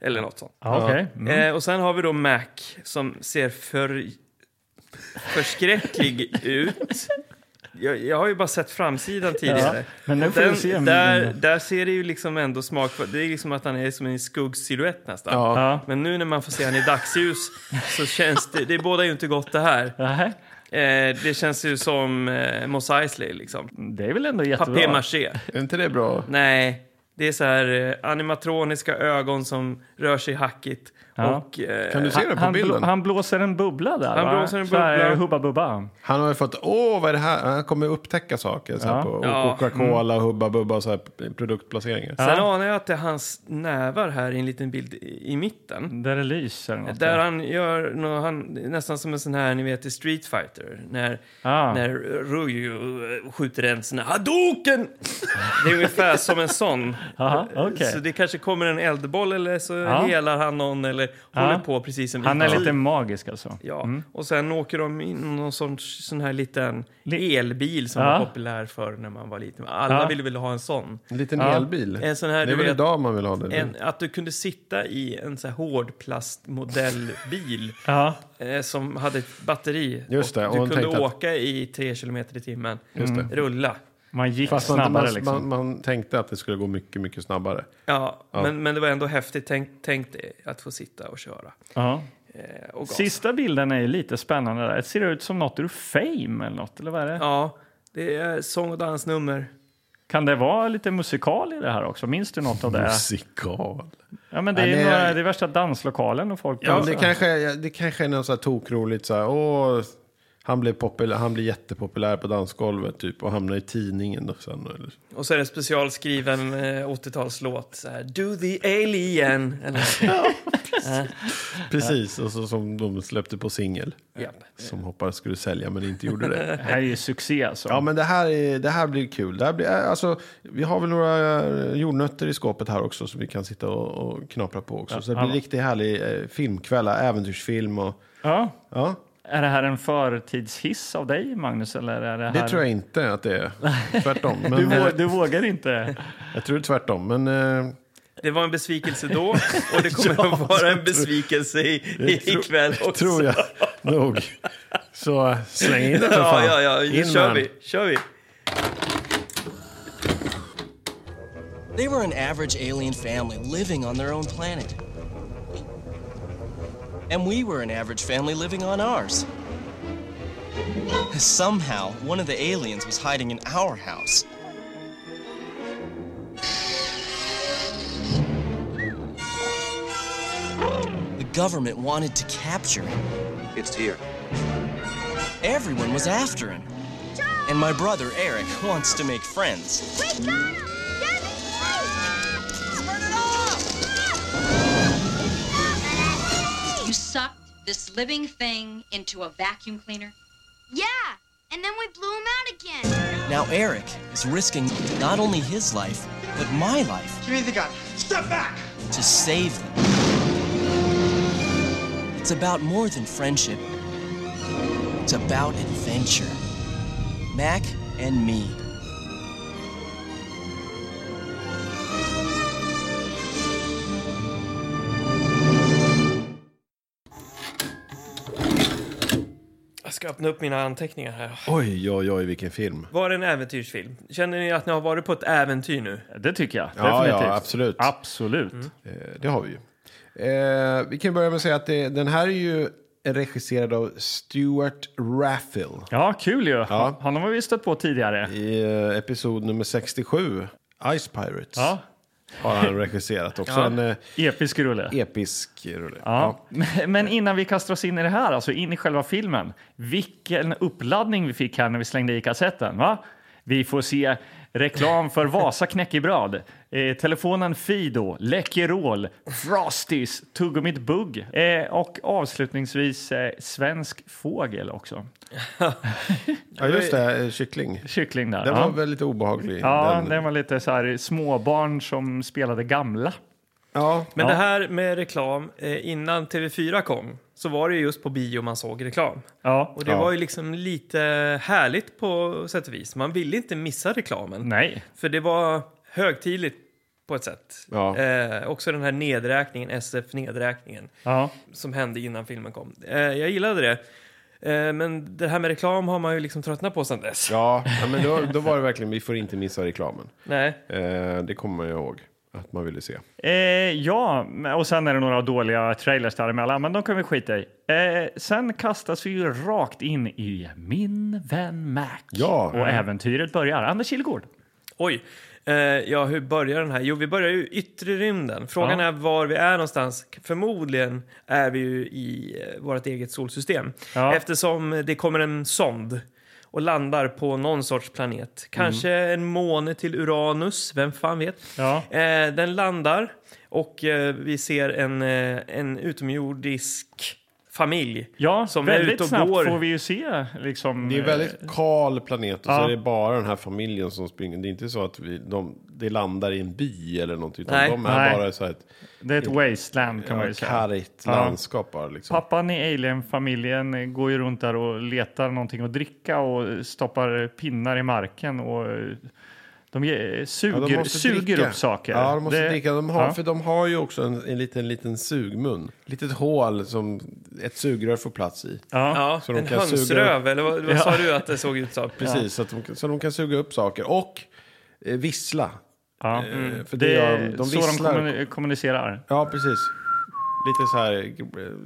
S2: Eller något sånt.
S3: Ja, okej. Mm.
S2: Eh, och sen har vi då Mac som ser för, förskräcklig ut. Jag, jag har ju bara sett framsidan tidigare.
S3: men nu får vi se.
S2: där, där ser det ju liksom ändå smak Det är liksom att han är som en skuggsilhuett nästan.
S1: Ja.
S3: Ja.
S2: Men nu när man får se han i dagsljus så känns det, det båda ju inte gott det här.
S3: Nähä.
S2: Eh, det känns ju som eh, Mos Eisley liksom.
S3: Det är väl ändå jättebra?
S2: Papier-maché.
S1: Är inte det bra?
S2: Nej, det är så här eh, animatroniska ögon som rör sig hackigt.
S3: Ja.
S2: Och, eh,
S1: Kan du se det
S3: Han,
S1: på
S3: han,
S1: bilden?
S3: blå, han blåser en bubbla där
S2: Han
S3: va?
S2: blåser en
S3: Så här,
S2: bubbla.
S3: Hubba Bubba.
S1: Han har ju fått, åh vad är det här? Han kommer upptäcka saker. Så här
S3: Ja.
S1: på
S2: Ja.
S1: Coca-Cola, Hubba Bubba och så här produktplaceringar.
S2: Sen anar jag att det är hans nävar här i en liten bild i, i mitten.
S3: Där det lyser något.
S2: Där han gör nå- han, nästan som en sån här, ni vet i Street Fighter. När,
S3: Ah.
S2: när Ryu eh, skjuter en sån här Hadoken! Det är ungefär som en sån.
S3: Aha, okej.
S2: Så det kanske kommer en eldboll eller så
S3: Ja.
S2: helar han någon eller håller på precis som
S3: Han är
S2: Ivan.
S3: lite magisk alltså.
S2: Ja, och sen åker de in i någon sorts sån här liten elbil som
S3: Ja.
S2: var populär förr när man var liten. Alla
S3: Ja.
S2: ville väl ha en sån.
S1: En liten
S3: Ja.
S1: elbil.
S2: En sån här,
S1: det
S2: du
S1: är väl
S2: vet,
S1: idag man vill ha det?
S2: en, att du kunde sitta i en sån här hårdplastmodellbil
S3: Ja.
S2: eh, som hade ett batteri.
S1: Just det, och
S2: du
S1: hon
S2: kunde
S1: tänkte att-
S2: åka i 3 kilometer i timmen. Mm.
S1: Just det.
S2: Rulla.
S3: Man gick
S1: Fast man,
S3: snabbare
S1: man,
S3: liksom.
S1: man, man tänkte att det skulle gå mycket, mycket snabbare.
S2: Ja, Men, men det var ändå häftigt tänkt, tänkt dig att få sitta och köra.
S3: ja.
S2: Eh, och gasa.
S3: Sista bilden är ju lite spännande. Där. Det ser ut som något ur Fame eller något. Eller vad är det?
S2: Ja, det är sång och dansnummer.
S3: Kan det vara lite musikal i det här också? Minns du något av det?
S1: Musikal.
S3: Ja, men det är,
S1: Ja, det är-
S3: några, det är värsta danslokalen och folk
S1: Ja,
S3: dansar.
S1: det, kanske, det kanske är något så här tokroligt så här, åh, han blev, populär, han blev jättepopulär på dansgolvet typ och hamnade i tidningen då sen. Eller,
S2: Och så är det en specialskriven eh, 80-talslåt. Så här, Do the alien. Eller,
S1: precis, och så som de släppte på singel.
S2: Japp.
S1: Som hoppades skulle sälja men inte gjorde det.
S3: Det här är ju succé alltså.
S1: Ja men det här, är, det här blir kul. Det här blir, alltså, vi har väl några eh, jordnötter i skåpet här också som vi kan sitta och, och knapra på också. så det blir
S3: ja.
S1: riktigt härlig eh, filmkväll, här, äventyrsfilm och
S3: Ja.
S1: ja.
S3: Är det här en förtidshiss av dig, Magnus? Eller är det här...
S1: Det tror jag inte att det är. Tvärtom. Men,
S3: Du, vå-
S1: eh,
S3: du vågar inte?
S1: Jag tror det är tvärtom. Men eh,
S2: Det var en besvikelse då och det kommer att vara en besvikelse i, i,
S1: tror-
S2: ikväll också.
S1: tror jag nog. Så eh, släng in det för
S2: Ja,
S1: fan.
S2: ja, ja. Nu
S1: In
S2: kör
S1: med
S2: vi.
S1: den.
S2: Kör vi.
S7: They were an average alien family living on their own planet. And we were an average family living on ours. Somehow, one of the aliens was hiding in our house. The government wanted to capture him. It's here. Everyone was after him. And and my brother Eric wants to make friends.
S8: Wake up! Get me Turn it
S9: You sucked this living thing into a vacuum cleaner?
S8: Yeah, and then we blew him out again.
S7: Now, Eric is risking not only his life, but my life. Give me the gun. Step back! To save them. It's about more than friendship, it's about adventure. Mac and me.
S2: Jag ska öppna upp mina anteckningar här.
S1: Oj, oj, oj, vilken film.
S2: Var det en äventyrsfilm? Känner ni att ni har varit på ett äventyr nu?
S3: Det tycker jag.
S1: Ja,
S3: definitivt.
S1: ja, absolut.
S3: Absolut.
S1: Eh, Det har vi ju. Eh, vi kan börja med att säga att det, den här är ju regisserad av Stuart Raffel.
S3: Ja, kul ju. Ja. Honom har vi stött på tidigare.
S1: I eh, episod nummer 67, Ice Pirates,
S3: Ja.
S1: har han regisserat också. En eh,
S3: Episk rulle.
S1: episk rulle.
S3: Ja. Men innan vi kastar oss in i det här, alltså in i själva filmen. Vilken uppladdning vi fick här när vi slängde i kassetten, va? Vi får se reklam för Vasa knäckebröd, eh, telefonen Fido, Läkerol, Frosties, Tuggummit Bugg eh, och avslutningsvis eh, Svensk Fågel också.
S1: Ja, just det, eh, kyckling.
S3: Kyckling där.
S1: Den
S3: ja.
S1: var väldigt obehaglig.
S3: Ja,
S1: den.
S3: den var lite så här småbarn som spelade gamla.
S1: ja.
S2: Men
S3: Ja.
S2: det här med reklam, eh, innan TV4 kom så var det ju just på bio man såg reklam.
S3: Ja.
S2: Och det
S1: Ja.
S2: var ju liksom lite härligt på sätt och vis. Man ville inte missa reklamen.
S3: Nej.
S2: För det var högtidligt på ett sätt.
S1: Ja.
S2: Eh, också den här nedräkningen, SF-nedräkningen,
S3: Ja.
S2: som hände innan filmen kom. Eh, jag gillade det. Eh, men det här med reklam har man ju liksom tröttnat på sedan dess.
S1: Ja, ja, men då, då var det verkligen, vi får inte missa reklamen.
S2: Nej.
S1: Eh, det kommer jag ihåg att man ville se.
S3: Eh, ja, och sen är det några dåliga trailers däremellan, men de kan vi skita i. Eh, sen kastas vi ju rakt in i Min vän Mac.
S1: Ja.
S3: Och äventyret börjar. Anders Kihlgård.
S2: Oj. Eh, ja, hur börjar den här? Jo, vi börjar ju i yttre rymden. Frågan
S3: Ja.
S2: är var vi är någonstans. Förmodligen är vi ju i eh, vårt eget solsystem.
S3: Ja.
S2: Eftersom det kommer en sond och landar på någon sorts
S3: Mm.
S2: planet. Kanske en måne till Uranus, vem fan vet?
S3: Ja.
S2: Eh, den landar och eh, vi ser en, eh, en utomjordisk familj.
S3: Ja,
S2: Som är ute
S3: väldigt
S2: och
S3: snabbt
S2: går.
S3: får vi ju se. Liksom,
S1: Det är en väldigt kal planet och så
S3: Ja.
S1: är det bara den här familjen som springer. Det är inte så att vi, de, det landar i en by eller någonting. Utan
S2: Nej.
S1: de är
S3: Nej.
S1: bara så här ett
S3: eh, det är ett wasteland kan man ju
S1: ja,
S3: säga.
S1: kargt
S3: Ja.
S1: landskap bara liksom.
S3: Pappan i Alien-familjen eh, går ju runt där och letar någonting att dricka och eh, stoppar eh, pinnar i marken och eh, de ge- eh,
S1: Ja, de
S3: suger,
S1: måste
S3: suger
S1: dricka.
S3: upp saker.
S1: Ja, de måste
S3: Det-
S1: dricka. De har,
S3: ja.
S1: För de har ju också en, en liten, liten sugmun. Litet hål som ett sugrör får plats i.
S3: Ja.
S2: Ja,
S1: Så de
S2: en
S1: kan suga-
S2: hönsröv, eller vad, vad sa du att det såg ut som?
S1: Precis, så, att de, så de kan suga upp saker och eh, vissla.
S3: Ja.
S1: Eh, För det,
S3: Mm. Det
S1: gör
S3: är
S1: de, de
S3: så de
S1: visslar.
S3: kommuni- kommunicerar.
S1: Ja, precis. Lite så här eh,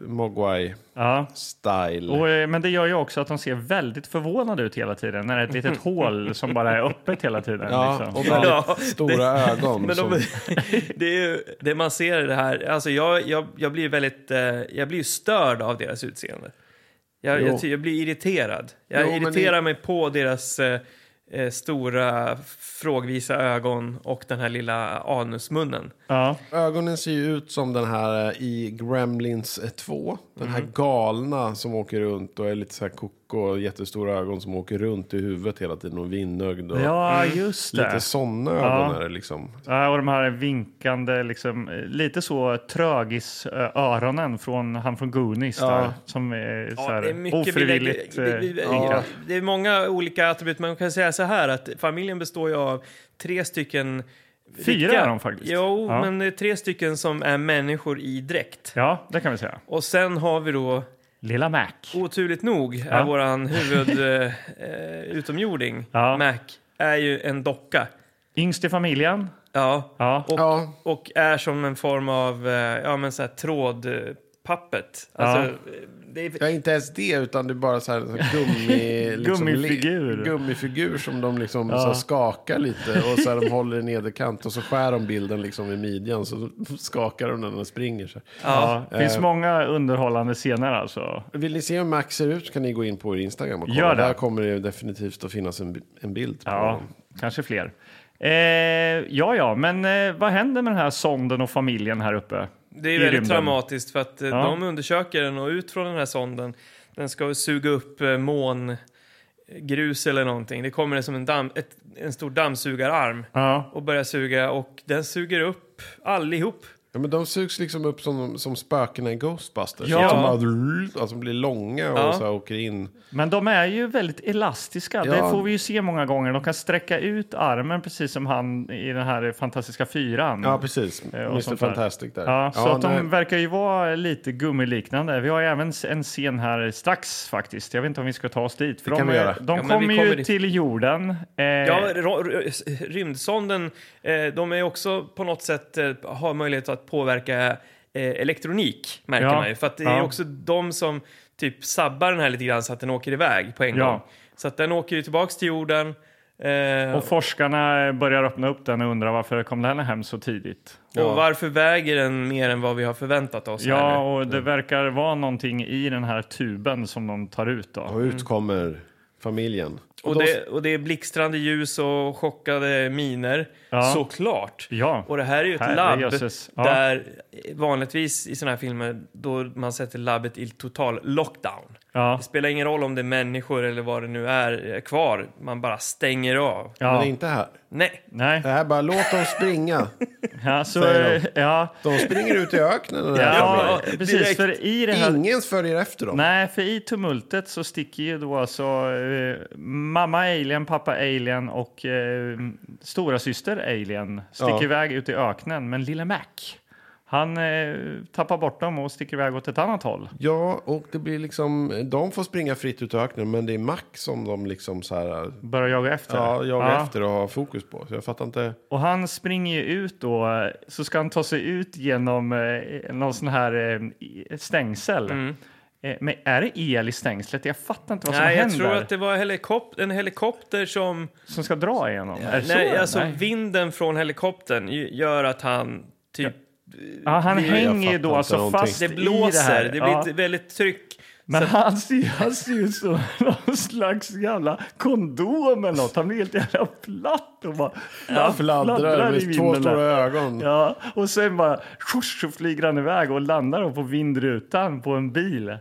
S1: Mogwai-style.
S3: Ja. Och, eh, men det gör ju också att de ser väldigt förvånade ut hela tiden när det är ett litet hål som bara är öppet hela tiden.
S1: Ja,
S3: liksom.
S1: och
S2: Ja,
S1: väldigt
S2: det-
S1: stora ögon.
S2: Men de,
S1: som,
S2: det är ju det man ser i det här. Alltså jag, jag, jag blir väldigt, eh, jag blir ju störd av deras utseende. Jag,
S1: Jo.
S2: jag, ty- jag blir irriterad. Jag
S1: Jo, men
S2: irriterar
S1: det-
S2: mig på deras eh, eh, stora frågvisa ögon och den här lilla anusmunnen.
S3: ja.
S1: Ögonen ser ju ut som den här eh, i Gremlins 2. Den här
S3: Mm.
S1: galna som åker runt och är lite så här koko och jättestora ögon som åker runt i huvudet hela tiden och vinögd. Och
S3: ja
S2: Mm.
S3: just det.
S1: Lite sådana ögon
S3: Ja.
S1: är det liksom.
S3: Ja, och de här vinkande, liksom, eh, lite så trögis eh, öronen från han från Goonies där, som är, så här, ofrivilligt
S2: vi lägger-
S3: eh,
S2: vi- vi-
S3: ja.
S2: Det är många olika attribut, men man kan säga så här att familjen består ju av tre stycken
S3: Fyra
S2: riktiga-
S3: är de faktiskt.
S2: Jo,
S3: Ja.
S2: men det är tre stycken som är människor i dräkt.
S3: ja, det kan vi säga.
S2: Och sen har vi då
S3: Lilla Mac.
S2: Oturligt nog är
S3: Ja.
S2: våran huvud eh, eh, utomjording,
S3: Ja.
S2: Mac, är ju en docka.
S3: Yngst i familjen.
S2: Ja.
S3: Ja.
S2: Och,
S1: Ja.
S2: och är som en form av eh, ja, men så här, tråd, eh, puppet. Alltså, det är,
S1: Ja, inte ens det, utan det är bara så här, så här gummi, liksom, le-
S3: Gummifigur.
S1: gummifigur som de liksom så här, skakar lite och så här, de håller i nederkant och så skär de bilden liksom vid midjan så skakar de den och springer. Så här.
S3: Ja, finns
S1: Eh.
S3: många underhållande scener alltså.
S1: Vill ni se hur Max ser ut så kan ni gå in på er Instagram och kolla.
S3: Gör det.
S1: Där kommer det definitivt att finnas en, bi- en bild. På
S3: Ja,
S1: honom.
S3: kanske fler. Eh, ja, ja, men eh, vad händer med den här sonden och familjen här uppe?
S2: Det
S3: i
S2: är väldigt
S3: rymden?
S2: traumatiskt för att eh, de undersöker den och ut från den här sonden, den ska ju suga upp eh, mångrus eller någonting. Det kommer som en, damm, ett, en stor dammsugararm
S3: Ja.
S2: och börjar suga och den suger upp allihop.
S1: Ja, men de sugs liksom upp som, som spökena i Ghostbusters.
S2: Ja.
S1: Som bara, alltså, blir långa och
S2: Ja.
S1: så här, åker in.
S3: Men de är ju väldigt elastiska. Det
S1: Ja.
S3: får vi ju se många gånger. De kan sträcka ut armen precis som han i den här fantastiska fyran.
S1: Ja, precis. Mr
S3: sånt där.
S1: Fantastic där.
S3: Ja, så att de
S1: nej.
S3: verkar ju vara lite gummiliknande. Vi har ju även en scen här strax faktiskt. Jag vet inte om vi ska ta oss dit. För
S1: Det kan
S3: de
S1: vi
S3: är-
S1: göra.
S3: de
S2: Ja, men vi
S3: kommer
S2: kommer
S3: ju
S2: dit.
S3: till jorden. Eh,
S2: Ja, ro- ro- s- rymdsonden, eh, de är också på något sätt, eh, har möjlighet att påverka eh, elektronik, märker
S3: Ja.
S2: man ju. För att det är
S3: Ja.
S2: också de som typ sabbar den här lite grann så att den åker iväg på en
S3: Ja.
S2: gång. Så att den åker ju tillbaks till jorden. eh,
S3: Och forskarna börjar öppna upp den och undrar varför kom den hem så tidigt?
S2: Och varför väger den mer än vad vi har förväntat oss?
S3: Ja,
S2: här nu?
S3: och det verkar vara någonting i den här tuben som de tar ut. Då.
S1: Och ut kommer familjen.
S2: och, det, och det är blixtrande ljus och chockade miner.
S3: Ja.
S2: Såklart.
S3: Ja.
S2: Och det här är ju ett labb
S3: Herrejösses. Ja.
S2: där vanligtvis i sådana här filmer då man sätter labbet i total lockdown.
S3: Ja.
S2: Det spelar ingen roll om det är människor eller vad det nu är eh, kvar. Man bara stänger av.
S1: Men
S3: Ja.
S1: inte här.
S2: Nej,
S3: Nej.
S1: Det här bara, låt dem springa.
S3: Ja, så,
S1: Säger
S3: ja.
S1: De springer ut i öknen. Den här
S3: Ja,
S1: familjen.
S3: precis.
S2: direkt.
S3: För i det här...
S1: Ingen följer efter dem.
S3: Nej, för i tumultet så sticker ju då alltså eh, mamma alien, pappa alien och eh, stora syster alien sticker
S1: Ja.
S3: iväg ut i öknen. Men lille Mac, han eh, tappar bort dem och sticker iväg åt ett annat håll.
S1: Ja, och det blir liksom, de får springa fritt ut i öknen, men det är Mac som de liksom så här,
S3: Börjar jaga efter.
S1: ja, jagar
S3: Ja.
S1: efter och har fokus på. Så jag fattar inte.
S3: Och han springer ju ut då, eh, så ska han ta sig ut genom eh, någon sån här eh, i- stängsel. Eh, men är det el i stängslet? Jag fattar inte vad som
S2: Mm. Nej jag
S3: händer.
S2: tror att det var helikop en helikopter som...
S3: Som ska dra igenom? är det
S2: nej,
S3: så?
S2: alltså
S3: nej.
S2: vinden från helikoptern ju- gör att han typ...
S3: Ja, han
S2: vi-
S3: hänger ju
S1: jag
S3: då
S1: fattar
S3: alltså
S1: någonting.
S3: fast
S2: Det
S3: i det
S2: blåser,
S3: här.
S2: det, blir
S3: Ja.
S2: ett väldigt tryck.
S3: Men han ser, han ser ju ut som någon slags jävla kondom eller något. Han blir helt jävla platt och bara
S1: Han fladdrar med två
S3: vinden där.
S1: stora ögon.
S3: Ja, och sen bara skjuts, så flyger han iväg och landar då på vindrutan på en bil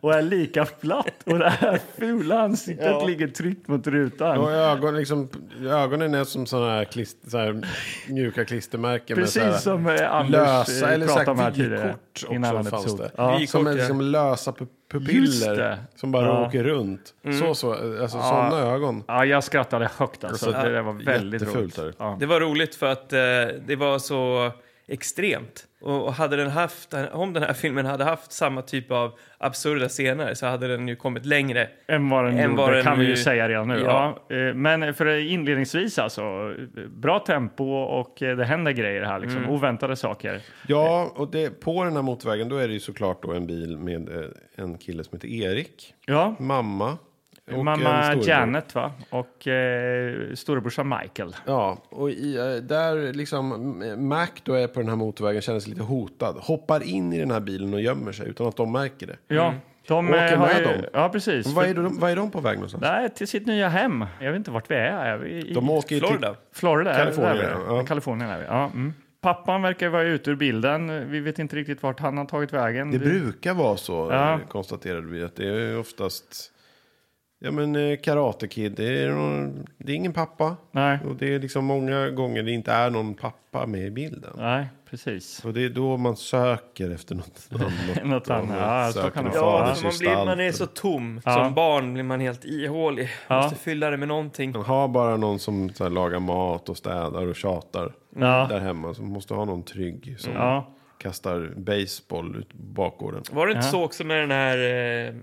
S3: och är lika platt och det här fula ansiktet ligger tryckt mot
S1: Och
S3: rutan.
S1: ögon, liksom, ögonen är som sådana här, klist, så här mjuka klistermärken. med så här-
S3: Precis som eh, Anders
S1: lösa
S3: eh,
S1: eller
S3: pratade om här
S1: sagt
S3: tidigare.
S1: vykort
S3: i en annan
S1: också fanns
S3: episod.
S1: det.
S3: Ja.
S1: Som är
S2: ja.
S1: liksom lösa pu-
S3: Just det.
S1: pupiller som bara
S3: Ja. Mm.
S1: åker runt. Så, så, alltså sådana ögon.
S3: ja, jag skrattade högt alltså.
S1: Så
S3: det där var väldigt
S1: jättefult
S3: roligt.
S1: är
S3: Ja.
S2: Det var roligt för att eh, det var så extremt. Och, och hade den haft, om den här filmen hade haft samma typ av absurda scener så hade den ju kommit längre.
S3: Än vad den
S2: Än vad
S3: gjorde,
S2: den
S3: kan vi ju
S2: nu-
S3: säga redan nu. Ja.
S2: Ja.
S3: eh, Men för inledningsvis alltså, eh, bra tempo och eh, det händer grejer här liksom.
S1: Mm.
S3: Oväntade saker.
S1: Ja, och det, på den här motorvägen då är det ju såklart då en bil med eh, en kille som heter Erik.
S3: Ja,
S1: Mamma. och en
S3: Mamma
S1: storebror.
S3: Janet va? och eh, storebrorsan Michael.
S1: Ja, och i, eh, där liksom eh, Mac då är på den här motorvägen känner sig lite hotad. Hoppar in i den här bilen och gömmer sig utan att de märker det.
S3: Ja, de
S1: Åker
S3: eh, har
S1: med
S3: ju,
S1: dem.
S3: Ja, precis.
S1: Vad är, de, vad är de på väg någonstans?
S3: Nej, till sitt nya hem. Jag vet inte vart vi är. är typ vi i
S1: De åker ju till...
S2: Florida.
S3: Florida? är det
S1: Kalifornien,
S3: där vi är?
S1: ja.
S3: Kalifornien är vi. Ja, mm. Pappan verkar vara ute ur bilden. Vi vet inte riktigt vart han har tagit vägen.
S1: Det brukar vara så,
S3: Ja.
S1: eh, konstaterade vi. Att det är oftast... Ja, men eh, Karate Kid, det är, någon, det är ingen pappa.
S3: Nej.
S1: Och det är liksom många gånger det inte är någon pappa med i bilden.
S3: Nej, precis.
S1: Och det är då man söker efter något annat.
S3: Något
S1: Och man
S3: annat. Ja, alltså, så
S1: söker
S3: kan det
S1: någon
S3: vara.
S2: Ja,
S1: faders
S2: för man, blir, man är
S1: gestalt.
S2: så tom.
S3: Ja.
S2: Som barn blir man helt ihålig. Måste fylla det med någonting.
S1: Man har bara någon som så här, lagar mat och städar och tjatar
S3: Ja.
S1: där hemma. Så man måste ha någon trygg. Som...
S3: Ja.
S1: kastar baseball ut bakgården.
S2: Var det inte
S3: Ja.
S2: så också med den här eh,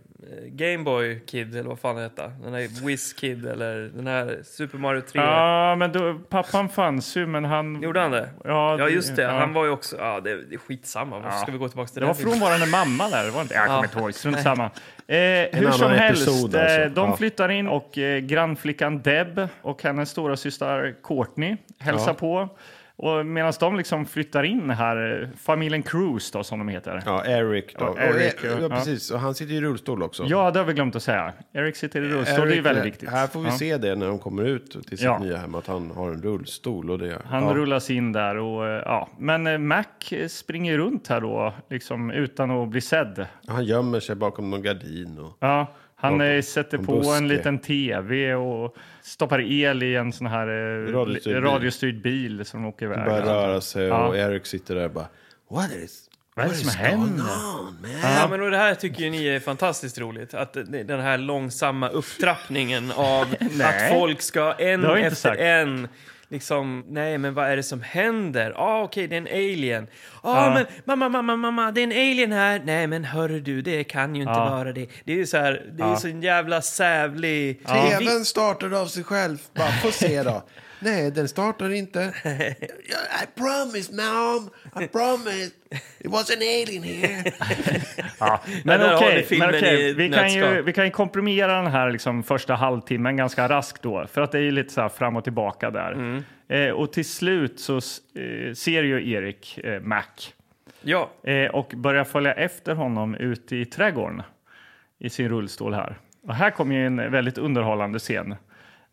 S2: Gameboy Kid, eller vad fan det hette? Den här Whiz Kid, eller den här Super Mario 3.
S1: Mm.
S3: Ja, men då, pappan fanns ju, men han...
S2: Gjorde han det?
S3: Ja,
S2: Ja, just det.
S3: ja.
S2: Han var ju också... Ja, det, det är skitsamma. Varför
S3: Ja.
S2: ska vi gå tillbaka till
S3: Det
S2: den
S3: var
S2: filmen?
S3: frånvarande mamma där, var det inte? Jag kommer inte ihåg, strunt samma. Eh, hur
S1: annan
S3: som helst,
S1: episod
S3: eh,
S1: alltså.
S3: de
S1: Ja.
S3: flyttar in och eh, grannflickan Deb och hennes stora syster Courtney hälsar på. Och medan de liksom flyttar in här, eh, familjen Cruz då som de heter. Ja,
S1: Ja, Eric då.
S3: Ja, Eric,
S1: och, eh,
S3: ja.
S1: ja, precis. Och han sitter ju i rullstol också.
S3: det har vi glömt att säga. Eric sitter i rullstol, det är ju
S1: Eric,
S3: väldigt
S1: eh,
S3: viktigt.
S1: Här får vi
S3: Ja.
S1: se det när de kommer ut till sitt
S3: Ja.
S1: nya hem, att han har en rullstol. Och det,
S3: Han
S1: ja.
S3: rullas in där och eh, ja, men eh, Mac eh, springer runt här då, liksom utan att bli sedd.
S1: han gömmer sig bakom någon gardin. Och,
S3: Ja, han
S1: Bakom
S3: eh, sätter
S1: en
S3: på
S1: buske.
S3: en liten tv och stoppar el i en sån här eh,
S1: Radiostyrd
S3: li-
S1: bil.
S3: radiostyrd bil som åker iväg.
S1: börjar röra sig
S3: Ja.
S1: och Eric sitter där och bara... What is...
S3: Vad är det som händer?
S2: Ja, men och det här tycker ju ni är fantastiskt roligt. Att det- den här långsamma upptrappningen av
S3: Nej.
S2: att folk ska en
S3: Det har jag inte
S2: efter
S3: sagt.
S2: en... Liksom, nej men vad är det som händer? ah, okej det är en alien. ah,
S3: Ja.
S2: men mamma, mamma, mamma, det är en alien här. Nej men hörru du, det kan ju inte
S3: Ja.
S2: vara det. Det är ju så här, det är
S3: Ja.
S2: ju så en jävla sävlig...
S1: TVn startade av sig själv. Bara, få se då. Nej, den startar inte. I promise, mom. I promise. It was an alien here.
S3: Ja. Men
S2: där har ni
S3: okej,
S2: filmen
S3: men okej,
S2: i
S3: vi, kan ju,
S2: nötskal.
S3: vi kan ju komprimera den här liksom första halvtimmen ganska raskt då, för att det är ju lite så här fram och tillbaka där.
S2: Mm.
S3: Eh, och till slut så s- eh, ser ju Erik eh, Mac
S2: Ja,
S3: eh, och börjar följa efter honom ut i trädgården i sin rullstol här. Och här kommer ju en väldigt underhållande scen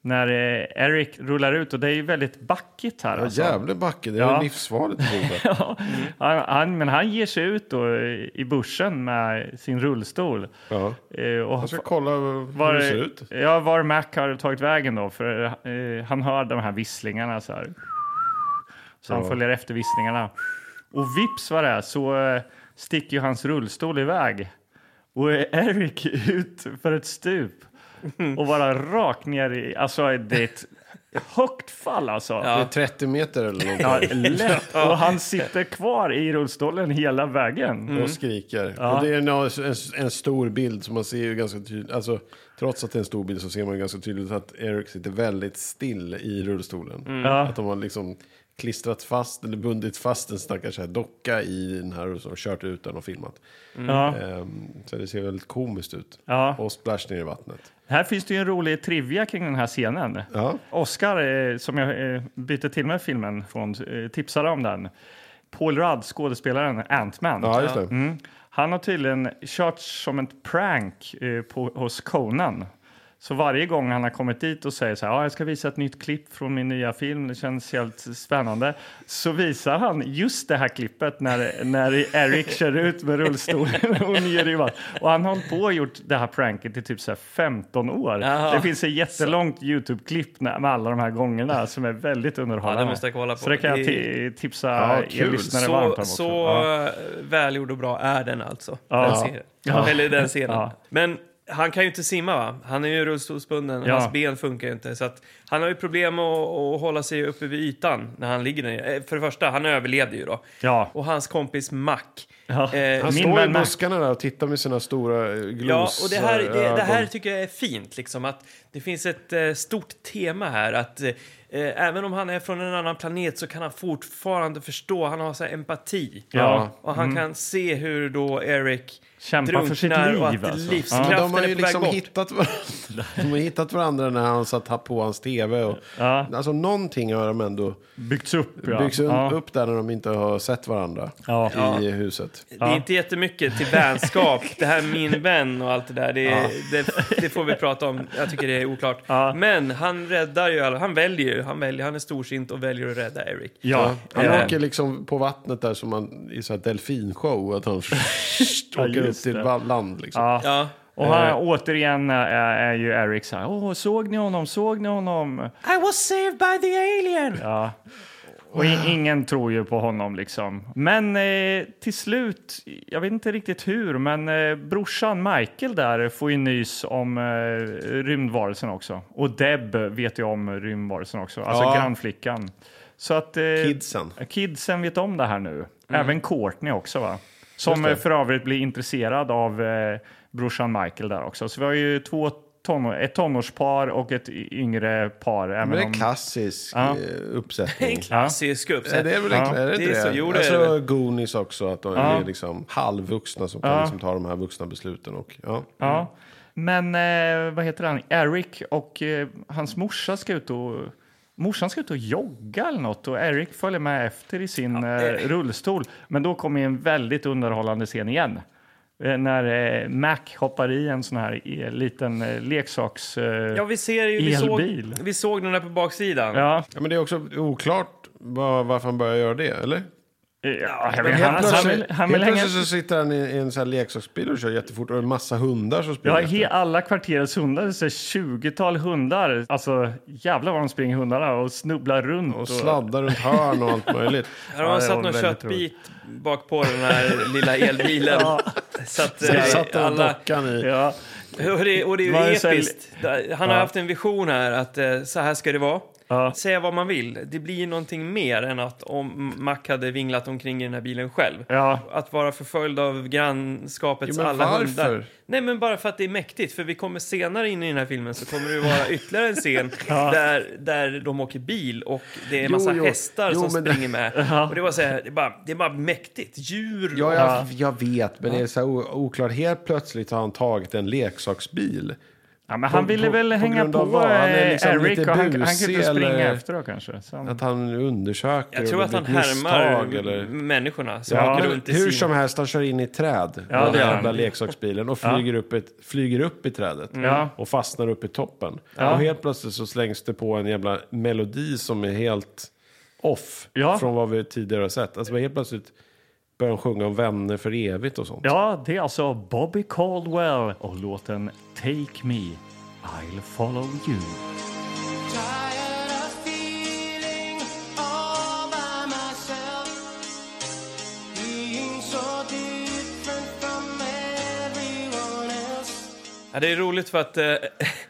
S3: när eh, Eric rullar ut och det är ju väldigt backigt här.
S1: Ja,
S3: alltså.
S1: jävla backe. Det är
S3: Ja.
S1: livsfarligt. Bobe.
S3: Ja, han, han, men han ger sig ut då eh, i bussen med sin rullstol.
S1: Ja.
S3: Eh, och
S1: Jag ska kolla hur det ser ut.
S3: Ja, var Mac har tagit vägen då, för eh, han hör de här visslingarna så här. Så han
S1: Ja.
S3: följer efter visslingarna. Och vips vad det är så eh, sticker ju hans rullstol iväg. Och eh, Eric ut för ett stup och bara rakt ner i... Alltså det är ett högt fall alltså.
S1: Det är 30 meter eller någonting.
S3: Ja, lätt. Och han sitter kvar i rullstolen hela vägen.
S2: Mm.
S1: Och skriker. Och det är en, en, en stor bild som man ser ju ganska tydligt. Alltså, trots att det är en stor bild så ser man ju ganska tydligt att Eric sitter väldigt still i rullstolen.
S2: Mm.
S1: Att de har liksom klistrat fast eller bundit fast en stackars här docka i den här rullstolen och kört ut den och filmat.
S2: Mm.
S3: Ja.
S1: Ehm, så det ser väldigt komiskt ut.
S3: Ja.
S1: Och splash ner i vattnet.
S3: Här finns det ju en rolig trivia kring den här scenen.
S1: Ja.
S3: Oscar, eh, som jag eh, bytte till med filmen från, eh, tipsade om den. Paul Rudd, skådespelaren Ant-Man.
S1: Ja, just det.
S3: Mm. Han har tydligen kört som ett prank eh, på, hos Conan. Så varje gång han har kommit dit och säger så här, ah, jag ska visa ett nytt klipp från min nya film, det känns helt spännande. Så visar han just det här klippet när, när Eric kör ut med rullstolen och ner i vattnet. Och han har hållit på och gjort det här pranket i typ så här 15 år.
S2: Jaha.
S3: Det finns ett jättelångt Youtube-klipp när- med alla de här gångerna som är väldigt underhållande.
S2: Ja, det måste jag kolla på.
S3: Så det kan jag
S2: Det-
S3: ti- tipsa
S1: Ja,
S3: er
S1: kul.
S3: lyssnare varmt
S2: så,
S3: om också.
S2: så
S3: Ja.
S2: eh, välgjord och bra är den alltså.
S3: Ja.
S2: Den serien.
S3: Ja.
S2: Eller den scenen.
S3: Ja.
S2: Men han kan ju inte simma va? Han är ju rullstolsbunden,
S3: Ja.
S2: hans ben funkar ju inte. Så att han har ju problem att, att hålla sig uppe vid ytan när han ligger ner. Eh, För det första, han överlevde ju då.
S3: Ja.
S2: Och hans kompis Mac.
S3: Ja.
S2: eh,
S1: Han
S3: Min
S1: står i
S3: vän Mac.
S1: buskarna där och tittar med sina stora eh,
S2: Ja, och det här, det, det här
S1: glosögon.
S2: tycker jag är fint, liksom, att det finns ett eh, stort tema här. Att eh, Även om han är från en annan planet så kan han fortfarande förstå, han har så här empati.
S3: Ja. Mm.
S2: Och han kan se hur då Eric
S3: Kämpar
S2: drunknar
S3: för sitt liv,
S2: och att
S3: alltså.
S2: livskraften
S1: Men de har
S2: är
S1: ju
S2: på
S1: liksom
S2: väg bort.
S1: hittat varandra. De har hittat varandra när han satt på hans tv. Och,
S3: Ja.
S1: Alltså någonting har de ändå
S3: Byggts upp, ja.
S1: byggts
S3: ja.
S1: upp där när de inte har sett varandra
S3: Ja.
S1: i huset.
S2: Det är inte jättemycket till vänskap, det här min vän och allt det där, det, det, det får vi prata om. Jag tycker det är oklart.
S3: Ja.
S2: Men han räddar ju, alla- han väljer ju, han, väljer, han är storsint och väljer att rädda Eric.
S3: Ja.
S1: Han
S2: Eh.
S1: åker liksom på vattnet där som man, i så här delfinshow. Att han
S3: Ja,
S1: åker upp
S3: just
S1: till
S3: det.
S1: va- land liksom.
S3: Ja.
S2: Ja.
S3: Och här,
S1: Eh.
S3: återigen är, är ju Eric så här, Åh, såg ni honom, såg ni honom?
S2: I was saved by the alien!
S3: Ja. Och i, ingen tror ju på honom liksom. Men eh, till slut, jag vet inte riktigt hur, men eh, brorsan Michael där får ju nys om eh, rymdvarelsen också. Och Deb vet ju om rymdvarelsen också, alltså
S1: Ja.
S3: grannflickan. Så att eh,
S1: Kidsen. Mm.
S3: kidsen vet om det här nu. Även Courtney också va? Som
S1: det.
S3: eh, för övrigt blir intresserad av eh, brorsan Michael där också. Så vi har ju två tonår, ett tonårspar och ett y- yngre par. Även
S1: Men det är
S3: om-
S1: klassisk
S3: Ja.
S1: eh,
S2: En
S1: uppsättning.
S2: klassisk
S1: Nej,
S2: uppsättning.
S1: det är väl
S3: Ja.
S1: är det
S2: Det
S1: inte
S2: är
S1: det?
S2: så- jo, det
S1: alltså,
S2: är det.
S1: Goonies också, att de
S3: Ja.
S1: är liksom halvvuxna som
S3: Ja.
S1: kan liksom ta de här vuxna besluten. Och, ja.
S3: Ja.
S1: Mm.
S3: Men eh, vad heter han? Eric och eh, hans morsa ska ut och... Morsan ska ut och jogga eller något och Eric följer med efter i sin eh, rullstol. Men då kommer ju en väldigt underhållande scen igen. Eh, när eh, Mac hoppar i en sån här eh, liten eh, leksaks... Eh,
S2: Ja, vi ser ju... Vi såg,
S3: Elbil.
S2: vi såg den där på baksidan.
S3: ja.
S1: Ja, men det är också oklart var, varför han börjar göra det, eller?
S3: Ja,
S1: Men
S3: jag vet, han,
S1: helt
S3: han
S1: plötsligt,
S3: vill, han vill
S1: helt
S3: hänga...
S1: plötsligt så sitter han i, i en sån här leksaksbil och kör jättefort och en massa hundar som
S3: Ja,
S1: springer
S3: he, alla kvarterets hundar, så här 20-tal hundar. Alltså jävlar vad de springer hundarna och snubblar runt.
S1: och sladdar runt hörn och allt möjligt.
S2: Här har de
S3: Ja, det var
S2: satt någon
S3: väldigt
S2: köttbit bak på den här lilla elbilen. Så att,
S1: Det
S2: eh,
S1: satt den
S2: alla,
S1: dockan i.
S3: Ja.
S2: och, det, och det är ju
S3: Det var en sån-
S2: episkt. Han har haft en vision här att eh, så här ska det vara.
S3: Ja.
S2: Säga vad man vill. Det blir någonting mer än att om Mac hade vinglat omkring i den här bilen själv.
S3: Ja,
S2: Att vara förföljd av grannskapets
S1: Jo, men
S2: alla
S1: varför?
S2: hundar. Nej, men bara för att det är mäktigt. För vi kommer senare in i den här filmen så kommer det vara ytterligare en scen där, där de åker bil och det är en
S1: Jo,
S2: massa
S1: jo.
S2: hästar
S1: Jo,
S2: som
S1: men det-
S2: springer med. Och det, var så här, det, är bara, det är bara mäktigt. Djur.
S1: Ja, jag, jag vet, men det är så här o- oklart. Helt plötsligt har han tagit en leksaksbil.
S3: Ja, men han
S1: På-
S3: ville
S1: på-
S3: väl
S1: på
S3: hänga
S1: grund
S3: på,
S1: av vad? Han är
S3: eh,
S1: liksom
S3: Eric
S1: lite
S3: och han, han
S1: busig,
S3: kunde inte springa
S1: eller?
S3: efter då kanske. Så han,
S1: Att han undersöker.
S2: Jag tror
S1: och
S2: att
S1: det
S2: han
S1: blir ett
S2: härmar
S1: misstag, eller?
S2: människorna som
S1: Ja,
S2: åker
S1: men
S2: runt i
S1: hur
S2: sin-
S1: som helst, han kör in i ett träd.
S3: Ja,
S1: den
S3: det gör
S1: jävla
S3: han.
S1: leksaksbilen och flyger, upp, ett, flyger upp i trädet.
S3: Ja.
S1: Och fastnar upp i toppen. Och helt plötsligt så slängs det på en jävla melodi som är helt off.
S3: Ja.
S1: Från vad vi tidigare har sett. Alltså helt plötsligt börjar de sjunga om vänner för evigt och sånt.
S3: Ja, det är alltså Bobby Caldwell och låten Take Me, I'll Follow You.
S2: Ja, det är roligt för att eh,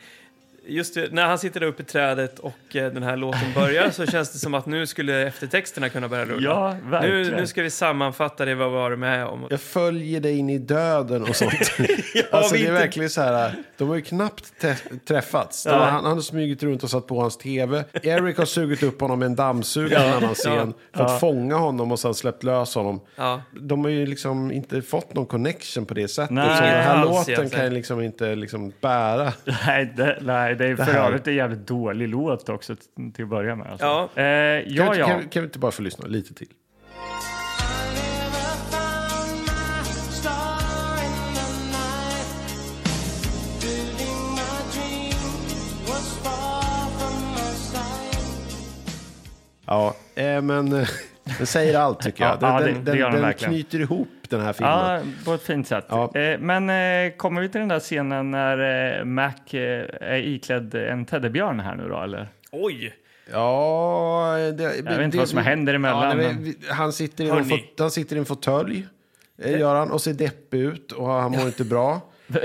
S2: just det, när han sitter där uppe i trädet och eh, den här låten börjar så känns det som att nu skulle eftertexterna kunna börja rulla.
S3: Ja, verkligen.
S2: nu, nu ska vi sammanfatta det vad vi har varit med om.
S1: Jag följer dig in i döden och sånt. alltså,
S2: vi
S1: det är
S2: inte-
S1: verkligen så här, de har ju knappt tä- träffats. De har, han, han har smugit runt och satt på hans tv. Eric har sugit upp honom med en dammsugare i en annan scen för att fånga honom och sen släppt lös honom.
S2: Ja.
S1: De har ju liksom inte fått någon connection på det sättet.
S3: Nej,
S1: så den här
S2: alls
S1: låten
S2: egentligen.
S1: kan ju liksom inte liksom bära.
S3: Nej, det, nej, det är för
S1: här-
S3: övrigt en jävligt dålig låt också t- till att börja med. Alltså.
S2: Ja.
S3: Eh, ja,
S1: Kan,
S3: ja.
S1: kan, kan vi inte bara få lyssna lite till? Ja, eh, men eh, den säger allt tycker jag.
S3: Ja,
S1: Den,
S3: ja, det-
S1: den,
S3: det gör den
S1: den, den
S3: verkligen.
S1: knyter ihop den här filmen.
S3: Ja, på ett fint sätt.
S1: Ja.
S3: Eh, men eh, kommer vi till den där scenen när eh, Mac eh, är iklädd en teddybjörn här nu då, eller?
S2: Oj!
S1: Ja, eh, det, jag
S3: vet inte vad som händer emellan, men-
S1: han, sitter i någon
S2: Hörni.
S1: fot, han sitter i en fåtölj, eh, gör han, och ser deppig ut och han mår inte bra.
S3: Eh,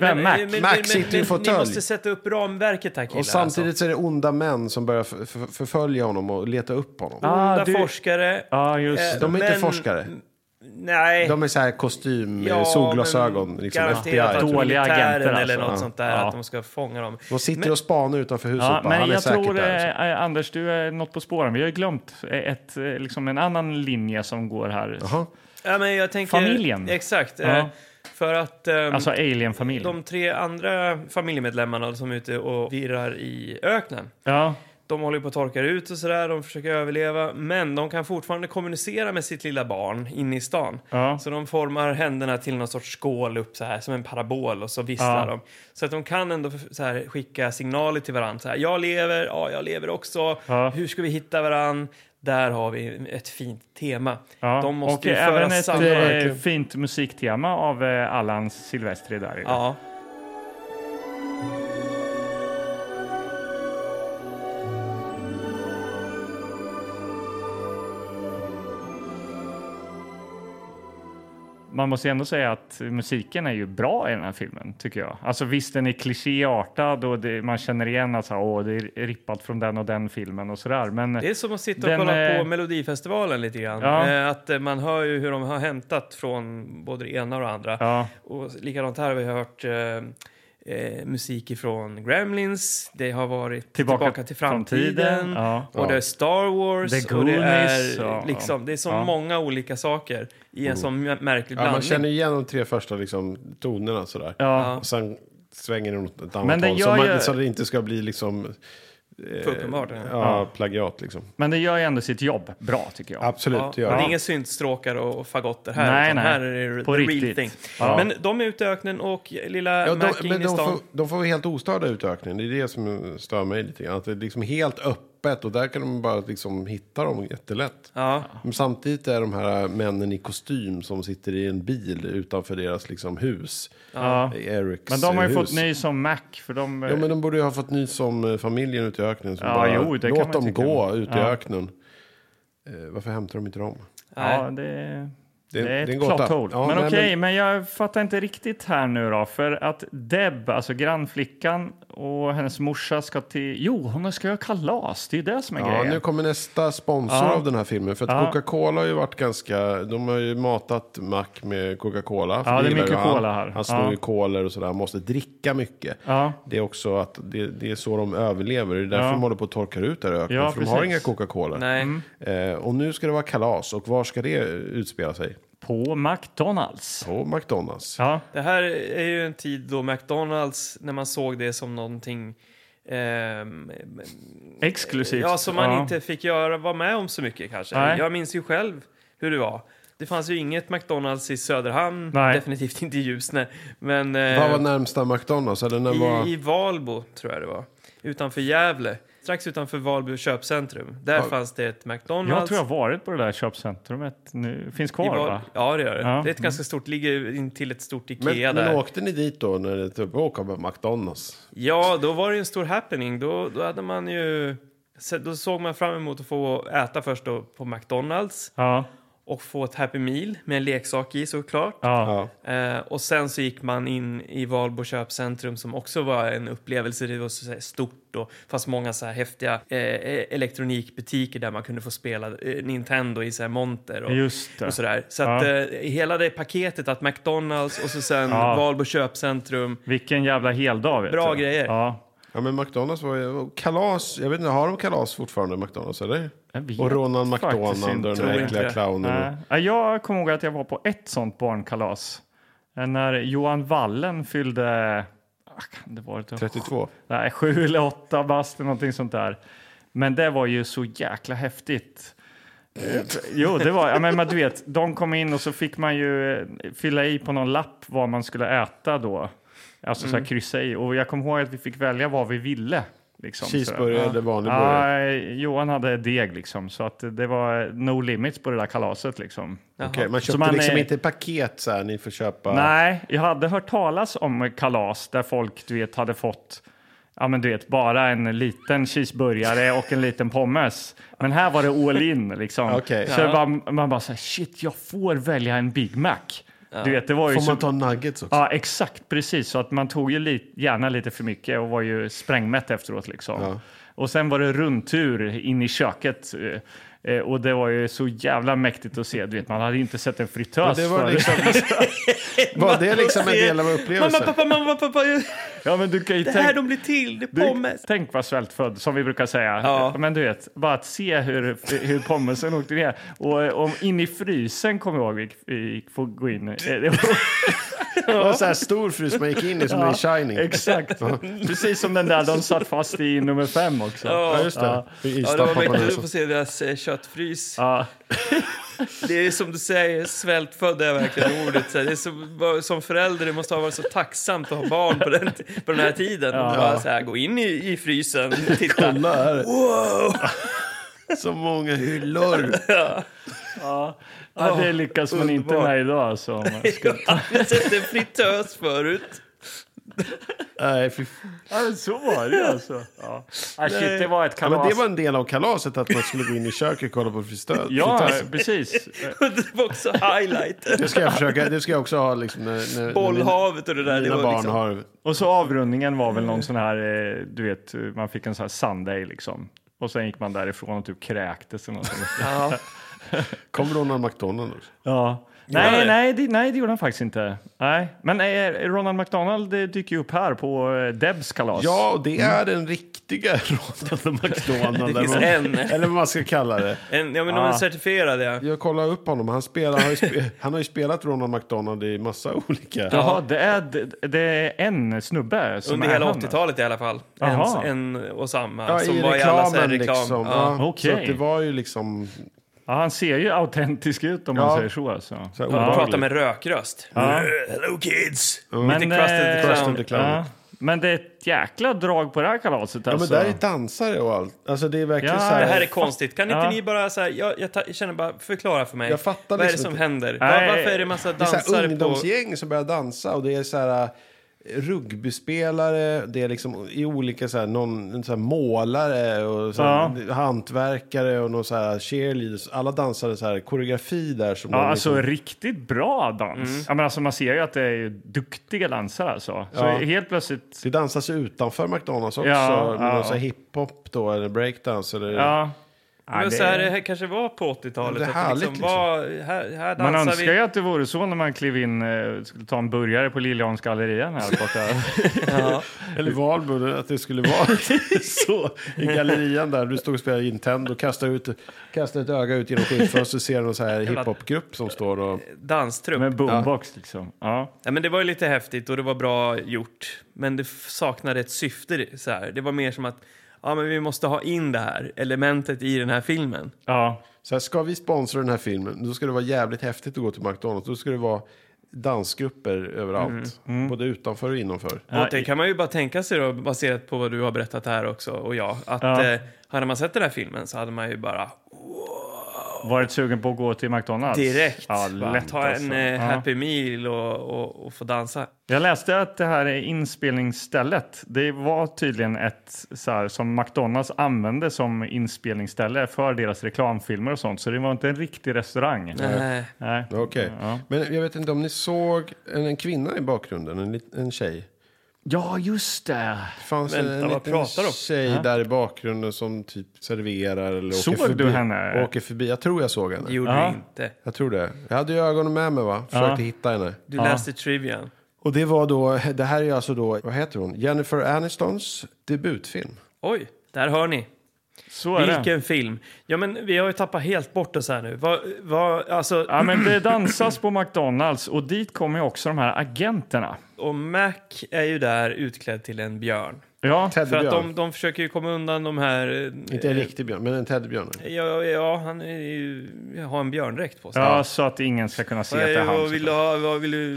S3: vem, Mac?
S1: Mac sitter i en fåtölj.
S2: Ni måste sätta upp ramverket här killar. alltså.
S1: Och
S3: alltså.
S1: samtidigt så är det onda män som börjar f- f- förfölja honom och leta upp honom.
S2: alltså. Onda
S3: Ah, du-
S2: forskare.
S3: Ja, just
S2: Eh,
S1: De är inte forskare.
S2: Nej.
S1: De är så här kostym, eh,
S2: men
S1: solglasögon, liksom FBI.
S2: Garanterat att
S3: Dåliga
S2: militären
S3: agenter,
S2: eller
S3: alltså.
S2: något sånt där,
S3: Ja.
S2: att de ska fånga dem.
S1: De sitter och spanar utanför huset
S3: Ja,
S1: bara.
S3: men
S1: Han är
S3: jag
S1: säkert
S3: tror,
S1: där. liksom.
S3: eh, eh, Anders, du är något på spåren. Vi har ju glömt eh, ett, eh, liksom en annan linje som går här.
S1: Jaha.
S2: Ja, men jag tänker,
S3: Familjen.
S2: Exakt.
S3: Ja.
S2: eh, För att... ehm,
S3: Alltså alienfamilj.
S2: De tre andra familjemedlemmarna som är ute och virrar i öknen.
S3: Ja,
S2: De håller på att torka ut och sådär, de försöker överleva. Men de kan fortfarande kommunicera med sitt lilla barn inne i stan.
S3: Ja.
S2: Så de formar händerna till någon sorts skål upp så här som en parabol och så visslar
S3: Ja.
S2: de. Så att de kan ändå så här, skicka signaler till varandra. Så här, jag lever, ja jag lever också.
S3: Ja.
S2: Hur ska vi hitta varandra? Där har vi ett fint tema.
S3: ja.
S2: De måste
S3: och
S2: ju föra
S3: även ett
S2: samman.
S3: eh, fint musiktema av eh, Allan Silvestri där. ju.
S2: Ja.
S3: man måste ju ändå säga att musiken är ju bra i den här filmen, tycker jag. Alltså visst, den är klichéartad och det, man känner igen att alltså, åh, det är rippat från den och den filmen och sådär. Men
S2: Det är som att sitta och
S3: Den,
S2: kolla på
S3: eh,
S2: Melodifestivalen lite grann.
S3: Ja.
S2: Eh, Att eh, man hör ju hur de har hämtat från både det ena och det andra.
S3: ja,
S2: Och likadant här har vi hört eh, eh, musik ifrån Gremlins, det har varit Tillbaka,
S3: Tillbaka
S2: till
S3: framtiden,
S2: framtiden,
S3: ja.
S2: och det är Star Wars.
S3: The
S2: och det,
S3: Goonies,
S2: är,
S3: ja,
S2: liksom, det är så
S3: ja.
S2: många olika saker i en sån märklig
S1: Oh. Ja,
S2: blandning.
S1: man känner igen de tre första liksom, tonerna sådär.
S3: Ja.
S1: Och sen svänger den åt ett
S3: Men
S1: annat
S3: den
S1: håll. Så,
S3: gör
S1: man,
S3: ju-
S1: så det inte ska bli liksom...
S2: För uppenbart.
S1: Ja,
S2: Eh, Ja.
S1: plagiat liksom.
S3: men det gör ju ändå sitt jobb bra, tycker jag.
S1: Absolut, det gör
S2: men det är
S1: det.
S2: inga syntstråkar och och fagotter här,
S3: Nej,
S2: utan
S3: nej.
S2: här är det
S3: På
S2: the real
S3: riktigt.
S2: thing.
S3: Ja.
S2: Men de är ute i öknen och lilla
S1: Ja,
S2: Mac
S1: de,
S2: in
S1: men
S2: i
S1: de
S2: stan.
S1: får, de får helt ostörda ut i öknen. Det är det som stör mig lite grann. Att det är liksom helt öppet och där kan de bara liksom hitta dem jättelätt.
S2: Ja.
S1: Men samtidigt är de här männen i kostym som sitter i en bil utanför deras liksom hus.
S3: Ja.
S1: Erics
S3: Men de har ju
S1: hus.
S3: fått ny som Mac, för de...
S1: Ja, men de borde ju ha fått nys om eh, familjen ute i öknen. Som
S3: Ja,
S1: bara,
S3: jo, det kan
S1: låt
S3: man
S1: dem
S3: tycka.
S1: gå ut i
S3: Ja.
S1: öknen. Eh, varför hämtar de inte dem?
S3: ja, det...
S1: Det är-
S3: Det är ett
S1: det är en gåta.
S3: plot hole.
S1: Ja,
S3: men
S1: nej,
S3: okej, men... jag fattar inte riktigt här nu då. För att Deb, alltså grannflickan och hennes morsa ska till... Jo, hon ska göra kalas. Det är det som är
S1: Ja,
S3: grejen.
S1: nu kommer nästa sponsor
S3: Ja.
S1: av den här filmen. För att
S3: Ja.
S1: Coca-Cola har ju varit ganska... De har ju matat Mac med Coca-Cola. för
S3: Ja, det är
S1: gillar ju
S3: mycket
S1: han.
S3: cola här.
S1: Han snor
S3: Ja.
S1: ju kolor och sådär. Han måste dricka mycket.
S3: Ja.
S1: Det är också att det, det är så de överlever. Det är därför
S3: Ja.
S1: de håller på att torka ut där i öknen.
S3: Ja,
S1: för de har
S3: precis.
S1: inga Coca-Cola.
S2: Nej.
S3: Mm.
S1: Eh, och nu ska det vara kalas. Och var ska det utspela sig?
S3: På McDonalds.
S1: På McDonalds.
S3: Ja,
S2: Det här är ju en tid då McDonalds, när man såg det som någonting ehm,
S3: exklusivt.
S2: ja, som man
S3: Typ, Ja.
S2: inte fick göra, vara med om så mycket kanske.
S3: Nej.
S2: Jag minns ju själv hur det var. Det fanns ju inget McDonalds i Söderhamn,
S3: Nej.
S2: definitivt inte i Ljusne, men
S1: Vad var
S2: eh,
S1: närmsta McDonalds? Eller när var...
S2: i, i Valbo tror jag det var. Utanför Gävle, strax utanför Valbo köpcentrum. Där fanns det ett McDonalds.
S3: Jag tror jag varit på det där köpcentrumet nu. Finns
S2: i
S3: kvar,
S2: Val-
S3: va?
S2: Ja, det gör det.
S3: Ja. Mm.
S2: Det är ett ganska stort, ligger in till ett stort
S1: Men,
S2: Ikea där.
S1: men åkte ni dit då när det typ, åka på McDonalds?
S2: Ja, då var det ju en stor happening. Då, då hade man ju... så- Då såg man fram emot att få äta först då på McDonalds
S3: Ja,
S2: och få ett Happy Meal med en leksak i såklart.
S3: ja.
S1: Ja.
S2: Eh, och sen så gick man in i Valbo köpcentrum som också var en upplevelse. Det var så här stort och fast många så här häftiga eh, elektronikbutiker där man kunde få spela eh, Nintendo i så här monter och,
S3: Just det.
S2: och sådär. Så att
S3: Ja.
S2: eh, hela det paketet att McDonalds och så sen
S3: Ja.
S2: Valbo köpcentrum.
S3: Vilken jävla heldag. Vet
S2: Bra
S3: du.
S2: grejer.
S3: Ja.
S1: Ja men McDonalds var ju kalas. Jag vet inte, har de kalas fortfarande McDonalds eller?
S3: Jag vet
S1: Och Ronald McDonald
S3: faktiskt
S1: och
S3: inte.
S1: den
S2: Tror
S1: där
S2: inte
S1: äckliga
S2: det.
S1: clownen.
S3: Nej. Äh, Ja, Jag kommer ihåg att jag var på ett sånt barnkalas. Eh, När Johan Wallen fyllde... ah, Kan det varit
S1: 32.
S3: Nej, sju eller åtta bast eller någonting sånt där. Men det var ju så jäkla häftigt. Eh, Jo, det var, ja, men man- du vet, de kom in och så fick man ju eh, fylla i på någon lapp vad man skulle äta då. Alltså så här kryssa i. Och jag kommer ihåg att vi fick välja vad vi ville. Liksom, sådär.
S1: Cheeseburgare eller vanlig burgare?
S3: Ja, Johan hade deg liksom, så att det var no limits på det där kalaset liksom.
S2: Jaha.
S1: Okej, man köpte
S3: man
S1: liksom
S3: är-
S1: inte paket så här, ni får köpa.
S3: Nej, jag hade hört talas om kalas där folk, du vet, hade fått Ja, men du vet, bara en liten cheeseburgare och en liten pommes. Men här var det all in. Liksom.
S1: Okej.
S3: Så man, man bara så här, shit, jag får välja en Big Mac. Du vet, det var ju
S1: Får
S3: så,
S1: man ta nuggets också?
S3: liksom- Ja, exakt, precis. Så att man tog ju li, gärna lite för mycket och var ju sprängmätt efteråt. Liksom. Och sen var det rundtur in i köket. eh, eh, Och det var ju så jävla mäktigt att se. Du vet, man hade ju inte sett en fritös
S1: Det var
S3: förut.
S1: liksom... var det liksom en del av
S2: Mamma,
S1: upplevelsen?
S2: pappa, mamma, pappa!
S3: Ja, men du kan ju
S2: Det
S3: tänka-
S2: här de blir till, det är
S3: Du,
S2: pommes!
S3: Tänk vad svältfödd, som vi brukar säga.
S2: Ja.
S3: Men du vet, bara att se hur, hur pommesen åkte ner. Och eh, om in i frysen, kommer jag ihåg, vi gick- vi gick- får gå in. eh, det var-
S1: Det var så här stor frys man gick in i som i Shining.
S3: Exakt. Precis som den där de satt fast i nummer fem också.
S1: Ja, just det. I
S2: Ja, det var
S1: Ystad, pappa
S2: mäktigt att
S1: Nelson.
S2: få se deras eh, köttfrys.
S3: Ja.
S2: Det är som du säger, svältfödd är verkligen ordet. Så här, Det är som, bara- som förälder, det måste ha varit så tacksamt att ha barn på den, på den här tiden. Och bara så här, gå in i, i frysen, titta.
S1: Kolla här. Så många hyllor.
S3: Ja, det lyckas man inte
S2: underbart.
S3: med idag. Alltså, om man ska...
S2: Jag har aldrig sett en fritös förut.
S1: Nej, fy f-
S3: Ja, men så var det ju alltså. Ja. Ah, shit, det var ett
S1: ja, men
S3: kalas.
S1: det var en del av kalaset att man skulle gå in i köket och kolla på fristöd.
S3: Ja,
S1: fritösen.
S3: precis.
S2: det var också highlighter.
S1: Det ska jag försöka, det ska jag också ha liksom när, när- när,
S2: Bollhavet och det där.
S1: mina,
S2: Det
S1: mina
S2: var
S1: barn
S2: liksom,
S1: har...
S3: Och så avrundningen var väl någon sån här, eh, du vet, man fick en sån här Sunday liksom. Och sen gick man därifrån och typ kräktes eller något sånt.
S2: ja.
S1: Kommer Ronald McDonald också?
S3: Ja.
S2: Gjorde
S3: Nej,
S2: det?
S3: nej, det, nej, det gjorde han faktiskt inte. Nej. Men eh, Ronald McDonald eh, dyker ju upp här på eh, Debs kalas.
S1: Ja, och det är den riktiga Ronald McDonald.
S2: Det finns
S1: eller vad-
S2: en.
S1: Eller vad man ska kalla det.
S2: En, ja, men de är certifierade. Ja.
S1: Jag kollar upp honom. Han, spelar, han, har ju spe, han har ju spelat Ronald McDonald i massa olika...
S3: Jaha, det är, det, det är en snubbe som
S2: Under
S3: är
S2: hela
S3: han.
S2: 80-talet i alla fall.
S3: Jaha.
S2: En, en och samma.
S1: Ja,
S2: som var i alla så här reklam.
S1: liksom.
S2: Ja.
S1: Ja,
S3: Okej.
S1: Så att det var ju liksom...
S3: Ja, han ser ju autentisk ut om
S1: Ja.
S3: man säger så. Alltså.
S1: Så här
S2: De
S1: obehagligt.
S2: pratar med rökröst. Hello kids!
S3: Men,
S2: Lite crusted
S3: eh,
S1: Mm. Crusted the Clown.
S3: ja. Men det är ett jäkla drag på det här kalaset.
S1: Ja,
S3: Alltså.
S1: men där är dansare och allt. Alltså det är verkligen
S3: Ja,
S1: så här...
S2: Det här är konstigt. Kan inte
S3: Ja.
S2: ni bara så här, jag, jag, ta, jag känner bara, förklara för mig.
S1: Jag fattar
S2: Vad är det
S1: liksom
S2: som
S1: inte.
S2: händer?
S3: Nej.
S2: Var, varför är det massa
S1: Det är så här
S2: dansare på...
S1: ungdomsgäng som börjar dansa och det är så här eh, rugbyspelare, det är liksom i olika så här, någon en så här målare och så här, hantverkare och någon så här cheerleaders. Alla dansade så här koreografi där som
S3: Ja,
S1: de
S3: alltså
S1: liksom,
S3: riktigt bra dans.
S2: Mm.
S3: Ja, men alltså, man ser ju att det är ju duktiga dansare. Alltså. Så
S1: Ja.
S3: helt plötsligt...
S1: det dansas utanför McDonalds också,
S3: Ja,
S1: med
S3: ja.
S1: någon så här hiphop då eller breakdance eller...
S3: Ja.
S2: Men
S3: Ja, det-
S2: så här, det här kanske var på 80-talet.
S1: Det är
S2: att
S1: härligt, liksom.
S2: var, här, här
S3: Man
S2: dansar
S3: önskar
S2: vi.
S3: ju att det vore så när man klev in eh, skulle ta en burgare på Liljeholms gallerian här borta.
S1: Eller Valbo, att det skulle vara så i gallerian där. Du stod och spelade Nintendo och kastade, ut, kastade ett öga ut genom skyltfönstret och ser någon så här hiphopgrupp som står och...
S2: Danstrupp.
S3: Med boombox liksom. Ja.
S2: Ja, men det var ju lite häftigt och det var bra gjort. Men det f- saknade ett syfte. Så här. Det var mer som att ja, men vi måste ha in det här elementet i den här filmen.
S3: ja.
S1: Så här, ska vi sponsra den här filmen, då ska det vara jävligt häftigt att gå till McDonalds. Då ska det vara dansgrupper överallt.
S2: Mm.
S1: Både utanför och innanför.
S2: och det kan man ju bara tänka sig då, baserat på vad du har berättat här också och jag. Att
S3: Ja.
S2: eh, hade man sett den här filmen så hade man ju bara
S3: Varit sugen på att gå till McDonalds?
S2: direkt
S3: Ja,
S2: bara,
S3: lätt
S2: ta en
S3: alltså.
S2: eh,
S3: Ja.
S2: Happy Meal och, och, och få dansa.
S3: Jag läste att det här är inspelningsstället. Det var tydligen ett så här, som McDonalds använde som inspelningsställe för deras reklamfilmer och sånt. Så det var inte en riktig restaurang.
S2: Nej.
S3: Nej.
S1: Okej. Men jag vet inte om ni såg en, en kvinna i bakgrunden, en, lit- en tjej.
S3: Ja, just det.
S1: Det fanns
S2: Vänta,
S1: en,
S2: vad
S1: en
S2: pratar du
S1: liten
S2: om?
S1: tjej där i bakgrunden som typ serverar eller
S3: Såg
S1: åker förbi.
S3: du henne?
S1: Åker förbi. Jag tror jag såg henne.
S2: Det gjorde
S3: Ja.
S2: du inte.
S1: Jag tror det. Jag hade ju ögonen med mig va? Försökte hitta henne.
S2: Du läste Trivian.
S1: Och det var då, det här är ju alltså då, vad heter hon? Jennifer Anistons debutfilm.
S2: Oj, där hör ni.
S3: Så är det.
S2: Vilken film! Ja, men vi har ju tappat helt bort oss här nu. Vad, vad, alltså,
S3: Ja, men det dansas på McDonalds och dit kommer ju också de här agenterna.
S2: Och Mac är ju där utklädd till en björn.
S3: Ja,
S2: För att
S1: Teddybjörn.
S2: de, de försöker ju komma undan de här... eh,
S1: Inte en riktig björn, men en teddybjörn.
S2: Ja, ja han är ju, har en björndräkt på sig.
S3: ja, så att ingen ska kunna se
S2: Vad
S3: att det
S2: är-
S3: är han.
S2: vad vill du ha? Vad vill du?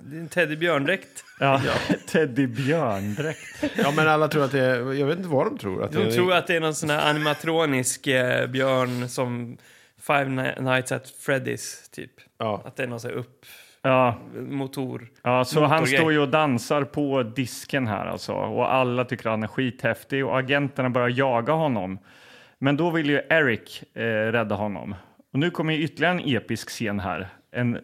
S2: Det är En teddybjörndräkt.
S3: Ja. Teddy Björn-dräkt.
S1: Ja men alla tror att det är, jag vet inte vad de tror. Att det
S2: De
S1: är,
S2: tror att det är någon sån här animatronisk eh, björn som Five Ni- Nights at Freddy's, typ.
S1: Ja.
S2: Att det är någon sån här upp...
S3: Ja,
S2: Motor.
S3: ja, så han
S2: Motorgrej.
S3: står ju och dansar på disken här alltså och alla tycker att han är skithäftig och agenterna börjar jaga honom. Men då vill ju Eric eh, rädda honom. Och nu kommer ju ytterligare en episk scen här. En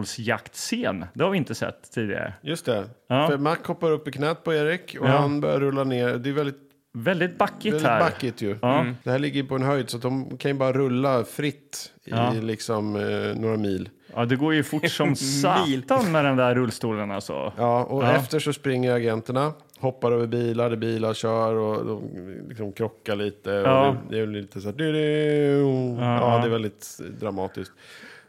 S3: rullstolsjaktscen. Det har vi inte sett tidigare.
S1: Just det.
S3: Ja.
S1: För Mac hoppar upp i knät på Erik och
S3: Ja.
S1: han börjar rulla ner. Det är väldigt,
S3: Väldigt backigt
S1: väldigt
S3: här.
S1: backigt ju.
S3: Ja.
S2: Mm.
S1: Det här ligger på en höjd så att de kan ju bara rulla fritt i
S3: Ja.
S1: liksom eh, några mil.
S3: Ja, det går ju fort som satan med den där rullstolen alltså.
S1: Ja, och
S3: Ja.
S1: efter så springer agenterna, hoppar över bilar, det bilar kör och de liksom krockar lite.
S3: Ja.
S1: Och det, det är lite så här... du, du. Ja, det är väldigt dramatiskt.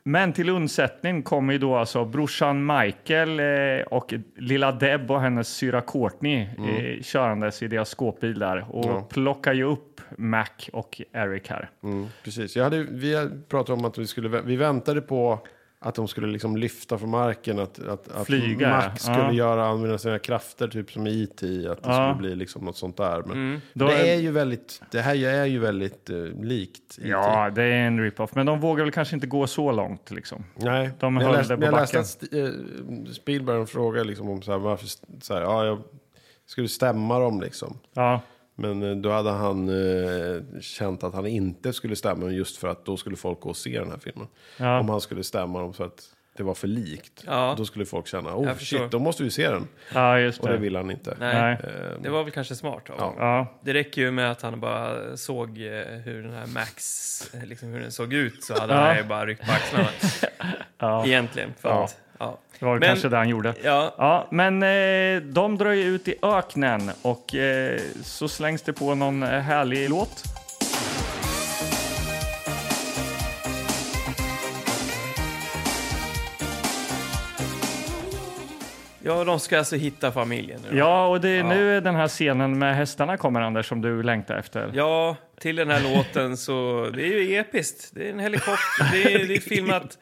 S3: Men till undsättning kommer ju då alltså brorsan Michael eh, och lilla Deb och hennes syra Courtney eh, körandes i deras skåpbil där och plockar ju upp Mac och Eric här.
S1: Mm, precis. Jag hade, vi pratade om att vi skulle... vä- Vi väntade på Att de skulle liksom lyfta från marken, att, att, att
S3: Flyga,
S1: Max
S3: ja.
S1: skulle göra, använda sina krafter, typ som i IT, att det
S3: Ja. Mm.
S1: skulle bli liksom något sånt där. Men
S3: Då
S1: det,
S3: är-
S1: är ju väldigt, det här är ju väldigt eh, likt IT.
S3: Ja, det är en rip-off. Men de vågar väl kanske inte gå så långt. Liksom.
S1: Nej,
S3: De
S1: men jag
S3: höll
S1: läste,
S3: det på
S1: men jag läste
S3: backen.
S1: att Sti- eh, Spielberg frågade liksom om så här, varför, så här, ja, jag skulle stämma dem liksom.
S3: Ja,
S1: Men eh, då hade han eh, känt att han inte skulle stämma dem just för att då skulle folk gå och se den här filmen.
S3: Ja.
S1: Om han skulle stämma dem för att det var för likt,
S2: Ja.
S1: då skulle folk känna oh
S2: Jag förstår.
S1: shit, då måste vi se den.
S3: ja just
S1: Och det
S3: det.
S1: vill han inte. Eh,
S2: Nej.
S3: Nej.
S2: Det var väl kanske smart av honom.
S3: Ja,
S2: Det räcker ju med att han bara såg eh, hur den här Max, eh, liksom hur den såg ut så hade
S3: Ja.
S2: han ju bara ryckt på axlarna. Egentligen. För
S1: Ja.
S2: Att, ja.
S3: det var väl
S2: Men-
S3: kanske det han gjorde.
S2: Ja,
S3: Ja, men eh, de drar ju ut i öknen och eh, så slängs det på någon eh, härlig låt.
S2: ja, de ska alltså hitta familjen nu. då.
S3: Ja, och det är nu den här scenen med hästarna kommer, Anders, som du längtar efter.
S2: Ja, till den här låten så... Det är ju episkt. Det är en helikopter. Det är, det är filmat,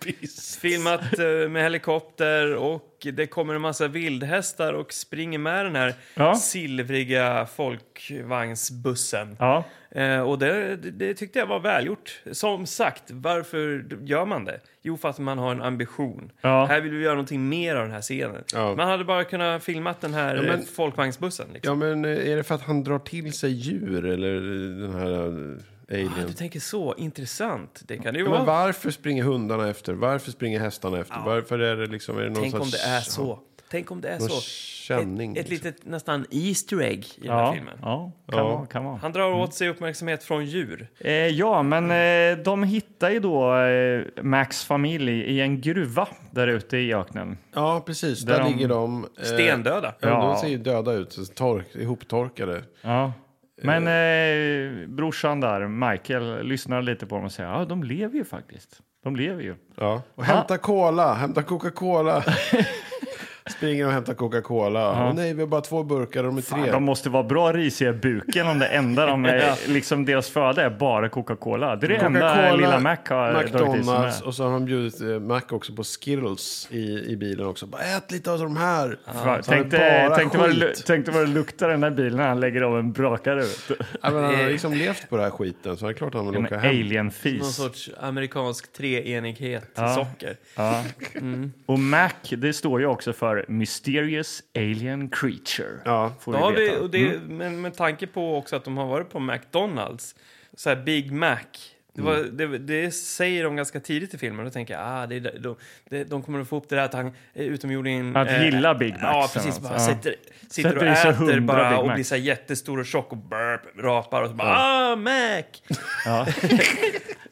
S2: filmat eh, med helikopter och det kommer en massa vildhästar och springer med den här
S3: Ja.
S2: silvriga folkvagnsbussen.
S3: Ja,
S2: Eh, och det, det, det tyckte jag var välgjort. Som sagt, varför gör man det? Jo, för att man har en ambition.
S3: Ja.
S2: Här vill vi göra någonting mer av den här scenen.
S1: Ja.
S2: Man hade bara kunnat filmat den här
S1: Ja, men-
S2: eh, folkvagnsbussen. Liksom.
S1: Ja men eh, är det för att han drar till sig djur eller eh, den här eh,
S2: Ah, du
S1: alien?
S2: tänker så. Intressant. Det kan det ju
S1: Ja,
S2: vara.
S1: men varför springer hundarna efter? Varför springer hästarna efter? Varför är det liksom... Är det någon
S2: Tänk om
S1: sorts,
S2: det är så. Tänk om det är
S1: Någon
S2: så.
S1: känning.
S2: ett ett
S1: liksom.
S2: litet nästan Easter egg i den här
S3: ja, Mm.
S2: filmen.
S3: ja kan
S1: Ja.
S3: vara. Kan vara.
S2: Han drar åt sig uppmärksamhet från djur.
S3: Eh, ja, men eh, de hittar ju då eh, Max familj i en gruva där ute i öknen.
S1: Ja, precis. Där,
S3: Där de-
S1: ligger de. eh,
S2: Stendöda.
S1: Ja,
S3: Ja.
S1: de ser ju döda ut. så Tork, ihoptorkade.
S3: Ja. Men eh, brorsan där, Michael, lyssnar lite på dem och säger ja, de lever ju faktiskt. De lever ju.
S1: Ja. Och hämta cola, hämta Coca-Cola. Springer och hämtar Coca-Cola. Åh nej, vi har bara två burkar, de är tre.
S3: De måste vara bra risiga i buken om det enda de är, liksom deras föda är bara Coca-Cola. Det är det enda lilla Mac har dragit i sig med.
S1: McDonalds och så har de bjudit eh, Mac också på Skittles i, i bilen också. Bara ät lite av de här.
S3: Fan,
S1: Så har
S3: Tänk
S1: det bara
S3: dig- tänk dig vad det lu-
S1: skit.
S3: tänk dig vad det luktar den här bilen när han lägger av en brakare ut.
S1: Ja, men han
S3: Eh.
S1: har liksom levt på den här skiten så det är klart han vill
S3: En
S1: åka hem.
S2: Någon
S3: alien-fis.
S2: sorts amerikansk treenighet
S3: Ja.
S2: socker.
S3: Ja. Och Mac, det står ju också för Mysterious Alien Creature.
S1: Ja.
S3: Får
S2: Då har vi,
S3: veta. Mm.
S2: och det, men, med tanke på också att de har varit på McDonalds, så här Big Mac. Det, var,
S3: Mm.
S2: det, det säger de ganska tidigt i filmen. Då tänker jag ah, det är, där- de, de, de kommer att få upp det där att han eh, utomjordingen... eh,
S3: Att gilla Big Macs
S2: Ja, precis.
S3: eller något.
S2: Bara
S3: Ja.
S2: sitter, sitter och
S3: Sätter i sig
S2: äter
S3: hundra
S2: bara
S3: Big
S2: och
S3: Macs.
S2: blir så här jättestor och tjock och burp, rapar och så bara ah, Mac!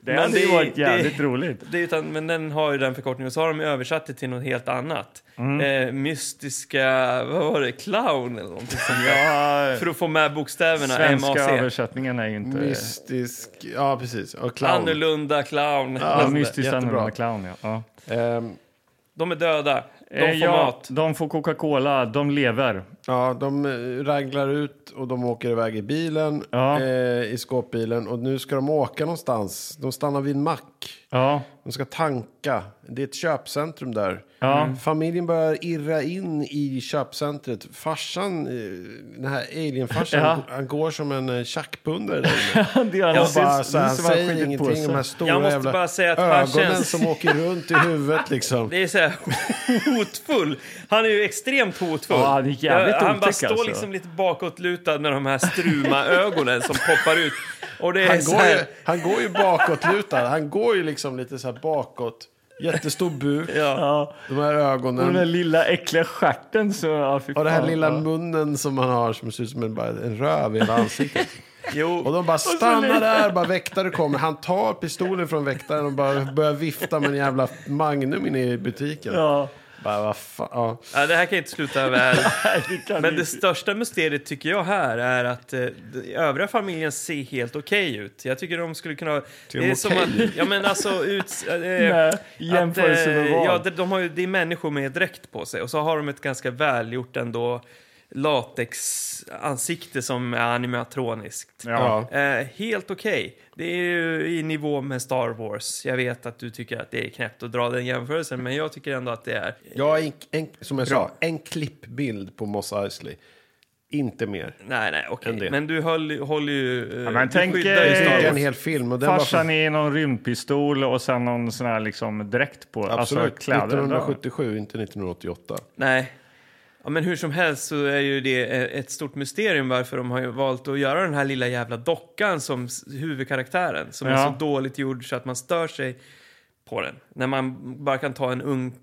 S3: det
S2: men
S3: hade ju
S2: det-
S3: varit
S2: det-
S3: jävligt roligt.
S2: Det, är utan, men den har ju den förkortningen och så har de översatt det till något helt annat.
S3: Mm.
S2: Eh, mystiska, vad var det, clown eller någonting sånt där.
S3: Ja,
S2: För att få med bokstäverna
S3: svenska
S2: MAC.
S3: översättningen är ju inte...
S1: Mystisk, ja precis. Och clown.
S2: Annorlunda clown.
S3: Ja, mystiskt
S1: jättebra.
S3: annorlunda clown, ja. ja.
S1: Ehm,
S2: De är döda. De får
S3: Eh, ja,
S2: mat.
S3: De får Coca-Cola, de lever.
S1: Ja, de eh, raglar ut och de åker iväg i bilen,
S3: Ja.
S1: eh, i skåpbilen. Och nu ska de åka någonstans. De stannar vid en mack.
S3: Ja,
S1: De ska tanka. Det är ett köpcentrum där. Mm.
S3: Ja.
S1: Familjen börjar irra in i köpcentret. Farsan, eh, den här alienfarsan,
S3: Ja.
S1: han går som en eh, tjackpundare där inne.
S3: det gör
S1: Och bara,
S3: Syns-
S1: så, här, han
S3: syns vad han
S1: säger
S3: skiter på
S1: ingenting om
S3: sig.
S1: de här stora
S2: Jag måste
S1: jävla
S2: bara säga att han
S1: ögonen
S2: känns-
S1: som åker runt i huvudet liksom.
S2: Det är så här hotfull. Han är ju extremt hotfull.
S3: Ja, han är jävligt
S2: Ja, han bara
S3: otäck,
S2: står
S3: alltså.
S2: liksom lite bakåtlutad med de här struma ögonen som poppar ut. Och det är
S1: Han
S2: så
S1: går, ju,
S2: här,
S1: han går ju bakåtlutad. Han går ju liksom lite så här bakåt. Jättestor buk,
S3: Ja.
S1: de här
S3: Och den där
S1: ögonen.
S3: lilla äckliga stjärten så... Ja, fy
S1: Och den här
S3: fan,
S1: lilla
S3: ja.
S1: munnen som han har som ser ut som en, bara en röv i hela ansiktet. Och
S2: Jo,
S1: de bara stannar där, bara väktare kommer. Han tar pistolen från väktaren och bara börjar vifta med en jävla Magnum inne i butiken.
S3: Ja,
S1: Bara, vad fan. Ja.
S2: ja, det här kan inte sluta väl.
S3: det kan
S2: Men
S3: ju-
S2: det största mysteriet tycker jag här är att eh, de- övriga familjen ser helt okej ut. Jag tycker de skulle kunna...
S1: de
S2: det är som
S1: okej
S2: att, ja men alltså ut... Eh,
S3: Nej,
S2: att,
S3: i jämförelse med
S2: eh,
S3: vad?
S2: Ja, de, de har ju, det är människor med dräkt på sig och så har de ett ganska välgjort ändå latexansikte som är animatroniskt.
S1: Ja.
S2: Eh, helt okej. Det är ju i nivå med Star Wars. Jag vet att du tycker att det är knäppt att dra den jämförelsen, men jag tycker ändå att det är...
S1: Ja, en, en, som jag sa, en klippbild på Moss Eisley. Inte mer.
S3: Eh,
S2: Nej, nej, okej.
S1: Än det.
S2: Men du höll, håller ju... eh,
S3: Ja, men
S2: du
S3: tänk,
S2: skyddar ju
S3: eh,
S2: Star
S1: Det är
S2: Wars.
S1: en hel film. Och den var
S3: Farsan
S1: för,
S3: i någon rymdpistol och sen någon sån här liksom dräkt på.
S1: absolut,
S3: Alltså kläder.
S1: 1977, inte 1988.
S2: Nej. Ja, men hur som helst så är ju det eh, ett stort mysterium varför de har ju valt att göra den här lilla jävla dockan som s- huvudkaraktären som är
S3: Ja.
S2: så dåligt gjord så att man stör sig på den. När man bara kan ta en ung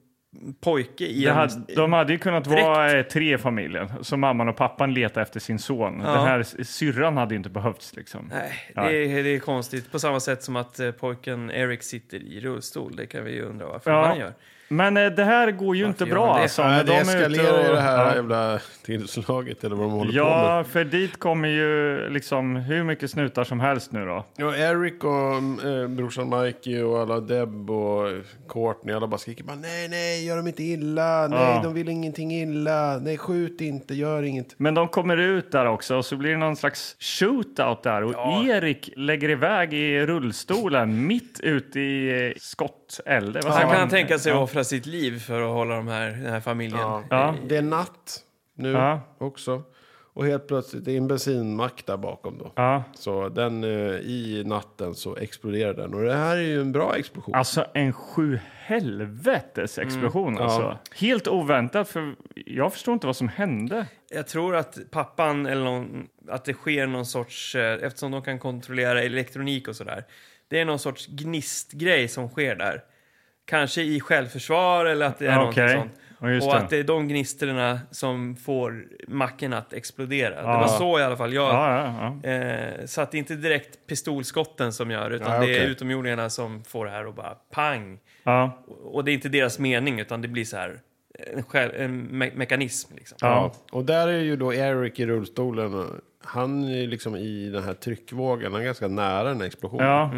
S2: pojke i
S3: Det
S2: en...
S3: hade, de hade ju kunnat
S2: Dräkt.
S3: vara eh, tre familjer. Så mamman och pappan letade efter sin son.
S2: Ja.
S3: Den här s- syrran hade ju inte behövts liksom.
S2: Nej, det
S3: Ja.
S2: är, det är konstigt. På samma sätt som att eh, pojken Eric sitter i rullstol. Det kan vi ju undra varför
S3: Ja.
S2: han gör.
S3: Men eh, det här går ju inte
S2: gör
S3: bra
S2: man det?
S3: alltså.
S1: Nej,
S3: När
S1: det
S3: de är ute
S1: eskalerar i
S3: och-
S1: det här
S3: Ja.
S1: jävla tillslaget eller vad de håller på med.
S3: Ja, för dit kommer ju liksom hur mycket snutar som helst nu då.
S1: Ja, Eric och eh, brorsan Mikey och alla Deb och Courtney, alla bara skriker bara nej, nej, gör dem inte illa, nej,
S3: Ja.
S1: de vill ingenting illa, nej, skjut inte, gör inget.
S3: Men de kommer ut där också och så blir det någon slags shootout där och Erik lägger iväg i rullstolen mitt ute i eh, skottelde. Vad säger
S2: Han kan
S3: man?
S2: tänka sig att offra sitt liv för att hålla de här, den här familjen.
S3: Ja.
S1: Eh, Det är natt nu
S3: Ja.
S1: också. Och helt plötsligt, det är en bensinmack där bakom då.
S3: Ja.
S1: Så den, eh, i natten så exploderar den. Och det här är ju en bra explosion.
S3: Alltså en sju helvetes
S1: Mm.
S3: explosion alltså. Helt oväntat för jag förstår inte vad som hände.
S2: Jag tror att pappan eller någon, att det sker någon sorts, eh, eftersom de kan kontrollera elektronik och sådär. Det är någon sorts gnistgrej som sker där. Kanske i självförsvar eller att det är
S3: Ja,
S2: någonting
S3: Ah, okej.
S2: sånt.
S3: Ja, just
S2: och
S3: det.
S2: att det är de gnisterna som får macken att explodera. Det
S3: Ja.
S2: var så i alla fall jag...
S3: Ja, ja, ja.
S2: Eh, så att det är inte direkt pistolskotten som gör utan
S3: Ah,
S1: Nej,
S2: det är
S1: okej.
S2: utomjordingarna som får det här och bara pang.
S3: ja.
S2: Och det är inte deras mening utan det blir så här eh, en, själ, en me- mekanism liksom.
S3: Ah.
S1: Ja. Och där är ju då Eric i rullstolen. och Han är ju liksom i den här tryckvågen. Han är ganska nära den här explosionen.
S3: ja.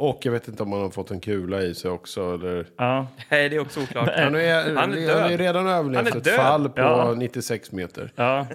S1: Och jag vet inte om han har fått en kula i sig också. Eller...
S3: ja.
S2: Nej, det är också oklart.
S1: Han, är,
S2: Han
S1: han,
S2: är
S1: är
S2: död.
S1: han är redan överlevt
S2: Han är
S1: ett
S2: död.
S1: fall på
S3: Ja.
S1: 96 meter.
S3: Ja,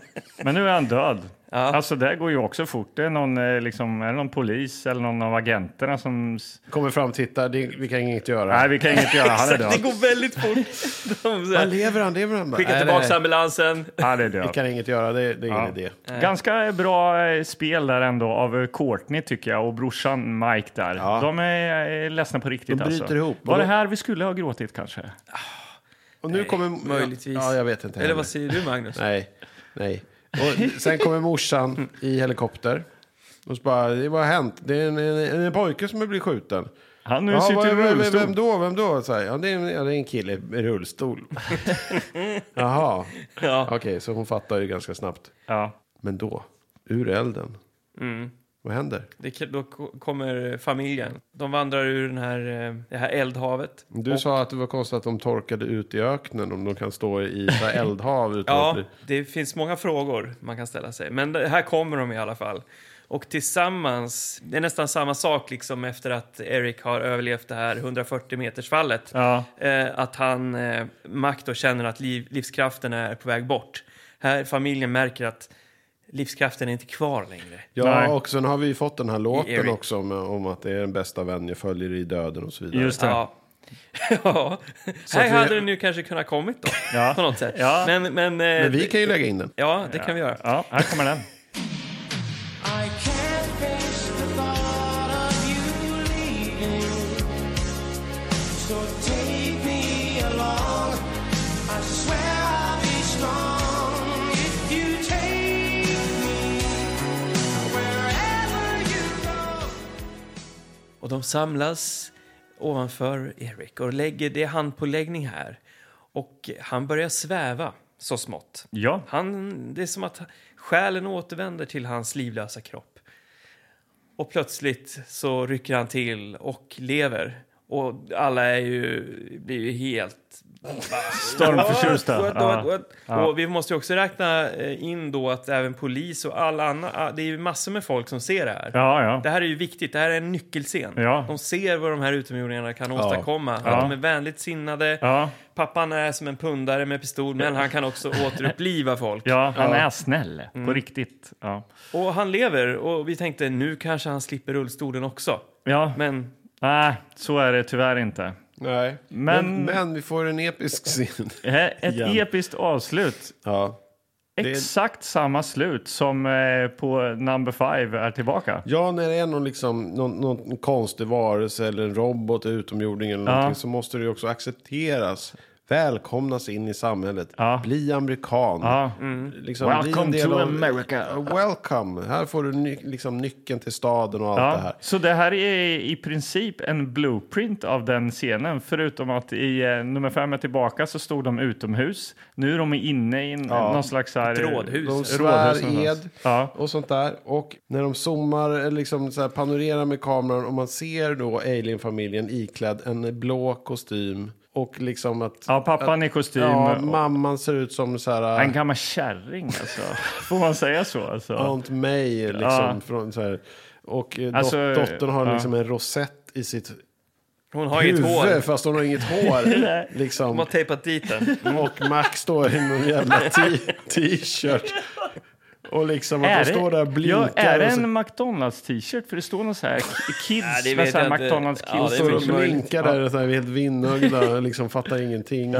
S3: men nu är han död. Alltså det går ju också fort. Det är någon, eh, liksom, är det någon polis eller någon av agenterna som... s-
S1: Kommer fram, tittar, det, vi kan inget göra.
S3: Nej, vi kan inget göra. Han är
S2: Det
S3: död.
S2: går väldigt fort. De så
S1: Han
S2: här,
S1: lever han, lever han. Bara,
S2: skickar
S1: nej, nej,
S2: tillbaka
S1: nej.
S2: ambulansen.
S3: Han är
S1: Vi
S3: död.
S1: kan inget göra, det, det är
S3: Ja.
S1: ingen idé.
S3: Ganska bra eh, spel där ändå av eh, Courtney tycker jag och brorsan Mike där. De är eh, ledsna på riktigt
S1: De bryter
S3: alltså.
S1: ihop.
S3: Var det
S1: Och-
S3: här vi skulle ha gråtit kanske?
S1: Och nu kommer...
S2: möjligtvis.
S1: Ja, jag vet inte
S2: Eller
S1: heller.
S2: vad säger du Magnus?
S1: Nej, nej. Och sen kommer morsan i helikopter. Och så bara, det- vad har hänt? Det är en, en, en pojke som blir skjuten.
S3: Han nu
S1: Ja,
S3: sitter
S1: vad-
S3: i
S1: vem- vem-
S3: rullstol.
S1: Vem då? Vem då? Så här, ja, det är, en- ja, det är en kille i rullstol. Jaha.
S2: Ja.
S1: Okej, så hon fattar ju ganska snabbt.
S3: Ja.
S1: Men då, ur elden.
S3: Mm.
S1: Vad händer?
S2: Det, k- då k- kommer familjen. De vandrar ur den här, eh, det här eldhavet.
S1: Du sa att det var konstigt att de torkade ut i öknen om de kan stå i så här eldhav. Utan att
S2: Ja,
S1: bli-
S2: det finns många frågor man kan ställa sig. Men det, här kommer de i alla fall. Och tillsammans, det är nästan samma sak liksom efter att Eric har överlevt det här 140 metersfallet.
S3: Ja.
S2: Eh, att han, eh, Mac då känner att liv, livskraften är på väg bort. Här familjen märker att livskraften är inte kvar längre.
S1: Ja,
S3: Nej.
S1: och sen har vi ju fått den här låten
S2: Eric.
S1: också om, om att det är den bästa vän jag följer i döden och så vidare.
S3: Just det. Ja.
S2: Ja. ja. Här
S1: att vi-
S2: hade den nu kanske kunnat kommit då.
S3: Ja.
S2: På något sätt.
S3: Ja.
S2: Men, men, eh,
S1: Men vi kan ju lägga in den.
S2: Ja, det kan vi göra.
S3: här kommer den.
S5: I can't face the thought of you leaving. So take me along. I swear I'll be strong if you take me wherever you go.
S2: Och de samlas ovanför Erik och lägger, det är handpåläggning här. Och han börjar sväva så smått.
S3: Ja.
S2: Han, det är som att själen återvänder till hans livlösa kropp. Och plötsligt så rycker han till och lever. Och alla är ju, blir ju helt
S3: Stormförtjusta.
S2: What,
S3: Ja.
S2: what, what, what? Och vi måste ju också räkna eh, in då att även polis och alla andra, ah, det är ju massor med folk som ser det här.
S3: Ja, ja.
S2: Det här är ju viktigt, det här är en nyckelscen.
S3: Ja.
S2: De ser vad de här utomjordingarna kan åstadkomma. Att
S3: Ja.
S2: de är vänligt sinnade,
S3: Ja,
S2: pappan är som en pundare med pistol men han kan också återuppliva folk.
S3: ja han är snäll. På riktigt. Ja.
S2: Och han lever och vi tänkte nu kanske han slipper rullstolen också.
S3: Ja,
S2: Men
S3: nej, så är det tyvärr inte.
S1: Nej.
S3: Men-
S1: Men, men vi får en episk scen.
S3: Eh, Ett
S1: Igen.
S3: episkt avslut.
S1: Ja. Det-
S3: Exakt samma slut som eh, på Number Five är tillbaka.
S1: Ja, när det är någon, liksom, någon, någon konstig varelse eller en robot, utomjording eller någonting så måste det ju också accepteras. Välkomnas in i samhället.
S3: Ja.
S1: Bli amerikan.
S3: Ja.
S1: Liksom,
S3: Welcome
S1: bli en del
S3: to
S1: av-
S3: America.
S1: Ja, Welcome. Här får du ny, liksom, nyckeln till staden och allt det
S3: Ja,
S1: här.
S3: så det här är i princip en blueprint av den scenen förutom att i eh, nummer fem är tillbaka så stod de utomhus. Nu är de inne i en, någon slags... Här,
S2: rådhus.
S1: De
S3: Rådhus
S1: svär
S3: någonstans.
S1: ed
S3: Ja.
S1: och sånt där. Och när de zoomar, eller liksom så här, panorerar med kameran och man ser då Alien-familjen iklädd en blå kostym. Och liksom att...
S3: Ja, pappan i kostym.
S1: Ja,
S3: och-
S1: mamman ser ut som så här...
S3: en gammal kärring alltså. Får man säga så? Alltså?
S1: Aunt May liksom.
S3: Ja.
S1: Från, så här, och eh, dot-
S3: Alltså,
S1: dottern har
S3: ja.
S1: liksom en rosett i sitt
S2: hon har ju ett hår.
S1: huvud fast hon har inget hår. liksom.
S2: De har tejpat dit den.
S1: Och Max står i någon jävla t- t-shirt. Och liksom att
S3: Är
S1: hon
S3: det,
S1: står där och
S3: ja,
S1: blinkar.
S3: är det
S1: och så-
S3: en McDonalds-t-shirt? För det står någon så här k-
S2: Ja,
S3: kids
S2: det
S3: med
S2: vet
S3: så här
S2: jag inte.
S3: McDonalds
S2: Ja, det
S3: kids.
S2: är
S1: Står och
S2: mycket möjligt.
S1: blinkar där, så här, helt vindögda, liksom fattar ingenting.